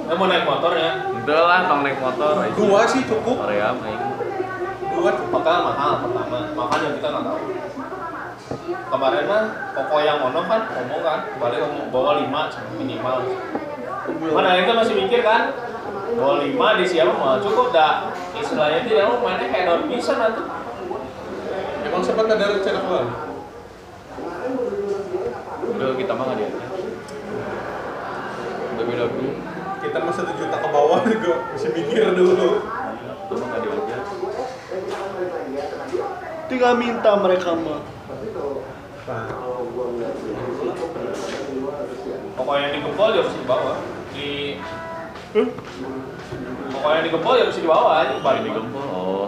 [SPEAKER 2] Nggak mau naik motor ya?
[SPEAKER 4] Udah lah, tong naik motor. aja.
[SPEAKER 1] dua sih cukup
[SPEAKER 4] Korea main.
[SPEAKER 1] dua cukup
[SPEAKER 2] Hotel mahal pertama. Makanya kita nggak tahu. Kemarin mah koko yang ono kan ngomong kan balik ngomong bawa lima minimal. Mana kita masih mikir kan? Bawa lima di siapa mah cukup dah. Istilahnya tidak mau mainnya kayak daun bisa nanti.
[SPEAKER 1] emang sempat ada rencana ke Bali
[SPEAKER 4] Udah kita mah nggak diajak. Udah beda dulu.
[SPEAKER 1] kita mah satu juta ke bawah juga masih mikir dulu
[SPEAKER 4] Kita mah nggak diajak.
[SPEAKER 5] Tinggal minta mereka mah.
[SPEAKER 1] Nah,
[SPEAKER 2] Pokoknya yang digempol ya harus dibawa di Pokoknya yang digempol ya harus dibawa aja
[SPEAKER 4] Bali
[SPEAKER 2] balik
[SPEAKER 4] di
[SPEAKER 2] digempol.
[SPEAKER 4] Gempol. Oh.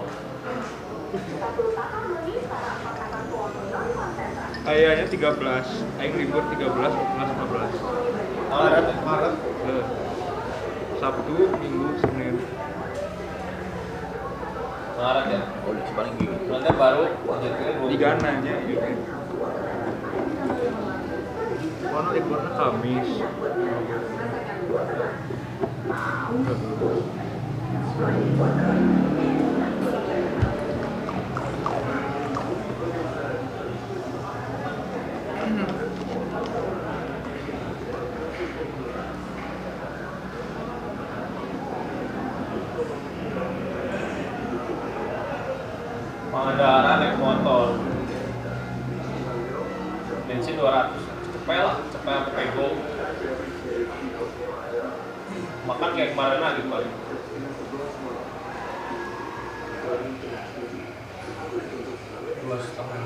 [SPEAKER 7] kayaknya 13 aing libur 13 14 15
[SPEAKER 2] Maret, Maret.
[SPEAKER 7] Heeh. Sabtu, Minggu, Senin.
[SPEAKER 2] Ngarat ya? Oh, di Cibarenggi. Nanti baru lanjutnya dua
[SPEAKER 7] Di Ghana aja. ya. Kono liburnya Kamis.
[SPEAKER 2] Pengendara naik motor. Bensin 200. Cepet lah, cepet sampai pego. Makan kayak kemarin lagi paling.
[SPEAKER 1] dua setengah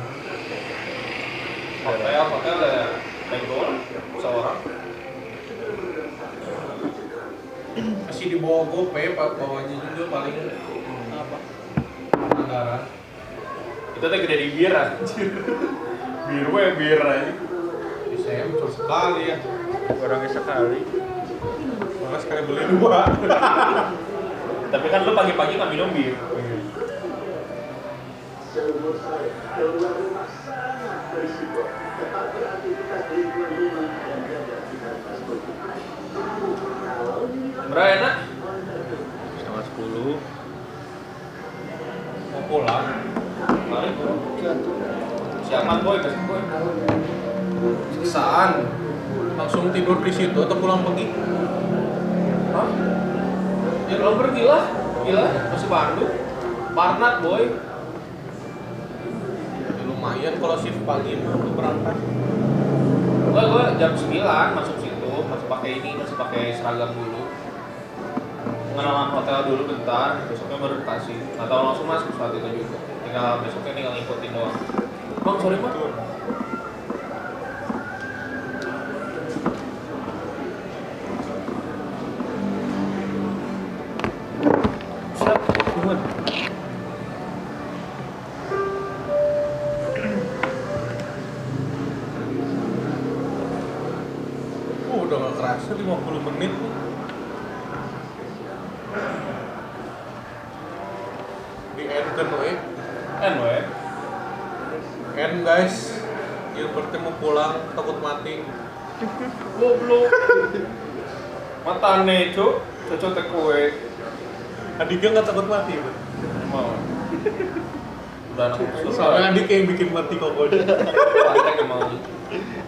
[SPEAKER 2] Hotel, hotel ya pego lah, seorang.
[SPEAKER 1] masih di bawah gope pak bawahnya juga paling hmm, apa anggaran
[SPEAKER 2] Itu teh gede di bir anjir. Bir we bir aja.
[SPEAKER 1] di saya cuma Iya, sekali ya
[SPEAKER 7] Orangnya sekali.
[SPEAKER 1] malah sekali beli dua
[SPEAKER 2] Tapi kan lu pagi-pagi nggak minum bir. Bro enak?
[SPEAKER 4] setengah sepuluh
[SPEAKER 2] Mau pulang? Mari bro. Siapan boy, kasih boy.
[SPEAKER 1] siksaan langsung tidur di situ atau pulang pergi
[SPEAKER 2] Hah? Ya lo pergi lah, gila, masih Bandung. Parnat boy.
[SPEAKER 1] ya, lumayan kalau shift pagi mah tuh berangkat
[SPEAKER 2] Gue gue jam 9 masuk situ, masih pakai ini, masih pakai seragam dulu. Pengalaman hotel dulu bentar, besoknya baru di taksi. Nggak tahu langsung masuk saat itu juga. Tinggal besoknya tinggal ngikutin doang. Bang, sorry bang. Siap, tungguin.
[SPEAKER 1] uh udah nggak kerasa 50 menit nih. di end kan we
[SPEAKER 2] Anyway,
[SPEAKER 1] end guys Gilbertnya mau pulang takut mati
[SPEAKER 2] goblok. Mata aneh, cuk. Cocok teh kue.
[SPEAKER 1] Adiknya nggak takut mati Bud.
[SPEAKER 2] Mau. Udah anak musuh.
[SPEAKER 1] soalnya adik yang bikin mati kok
[SPEAKER 2] Pantek emang.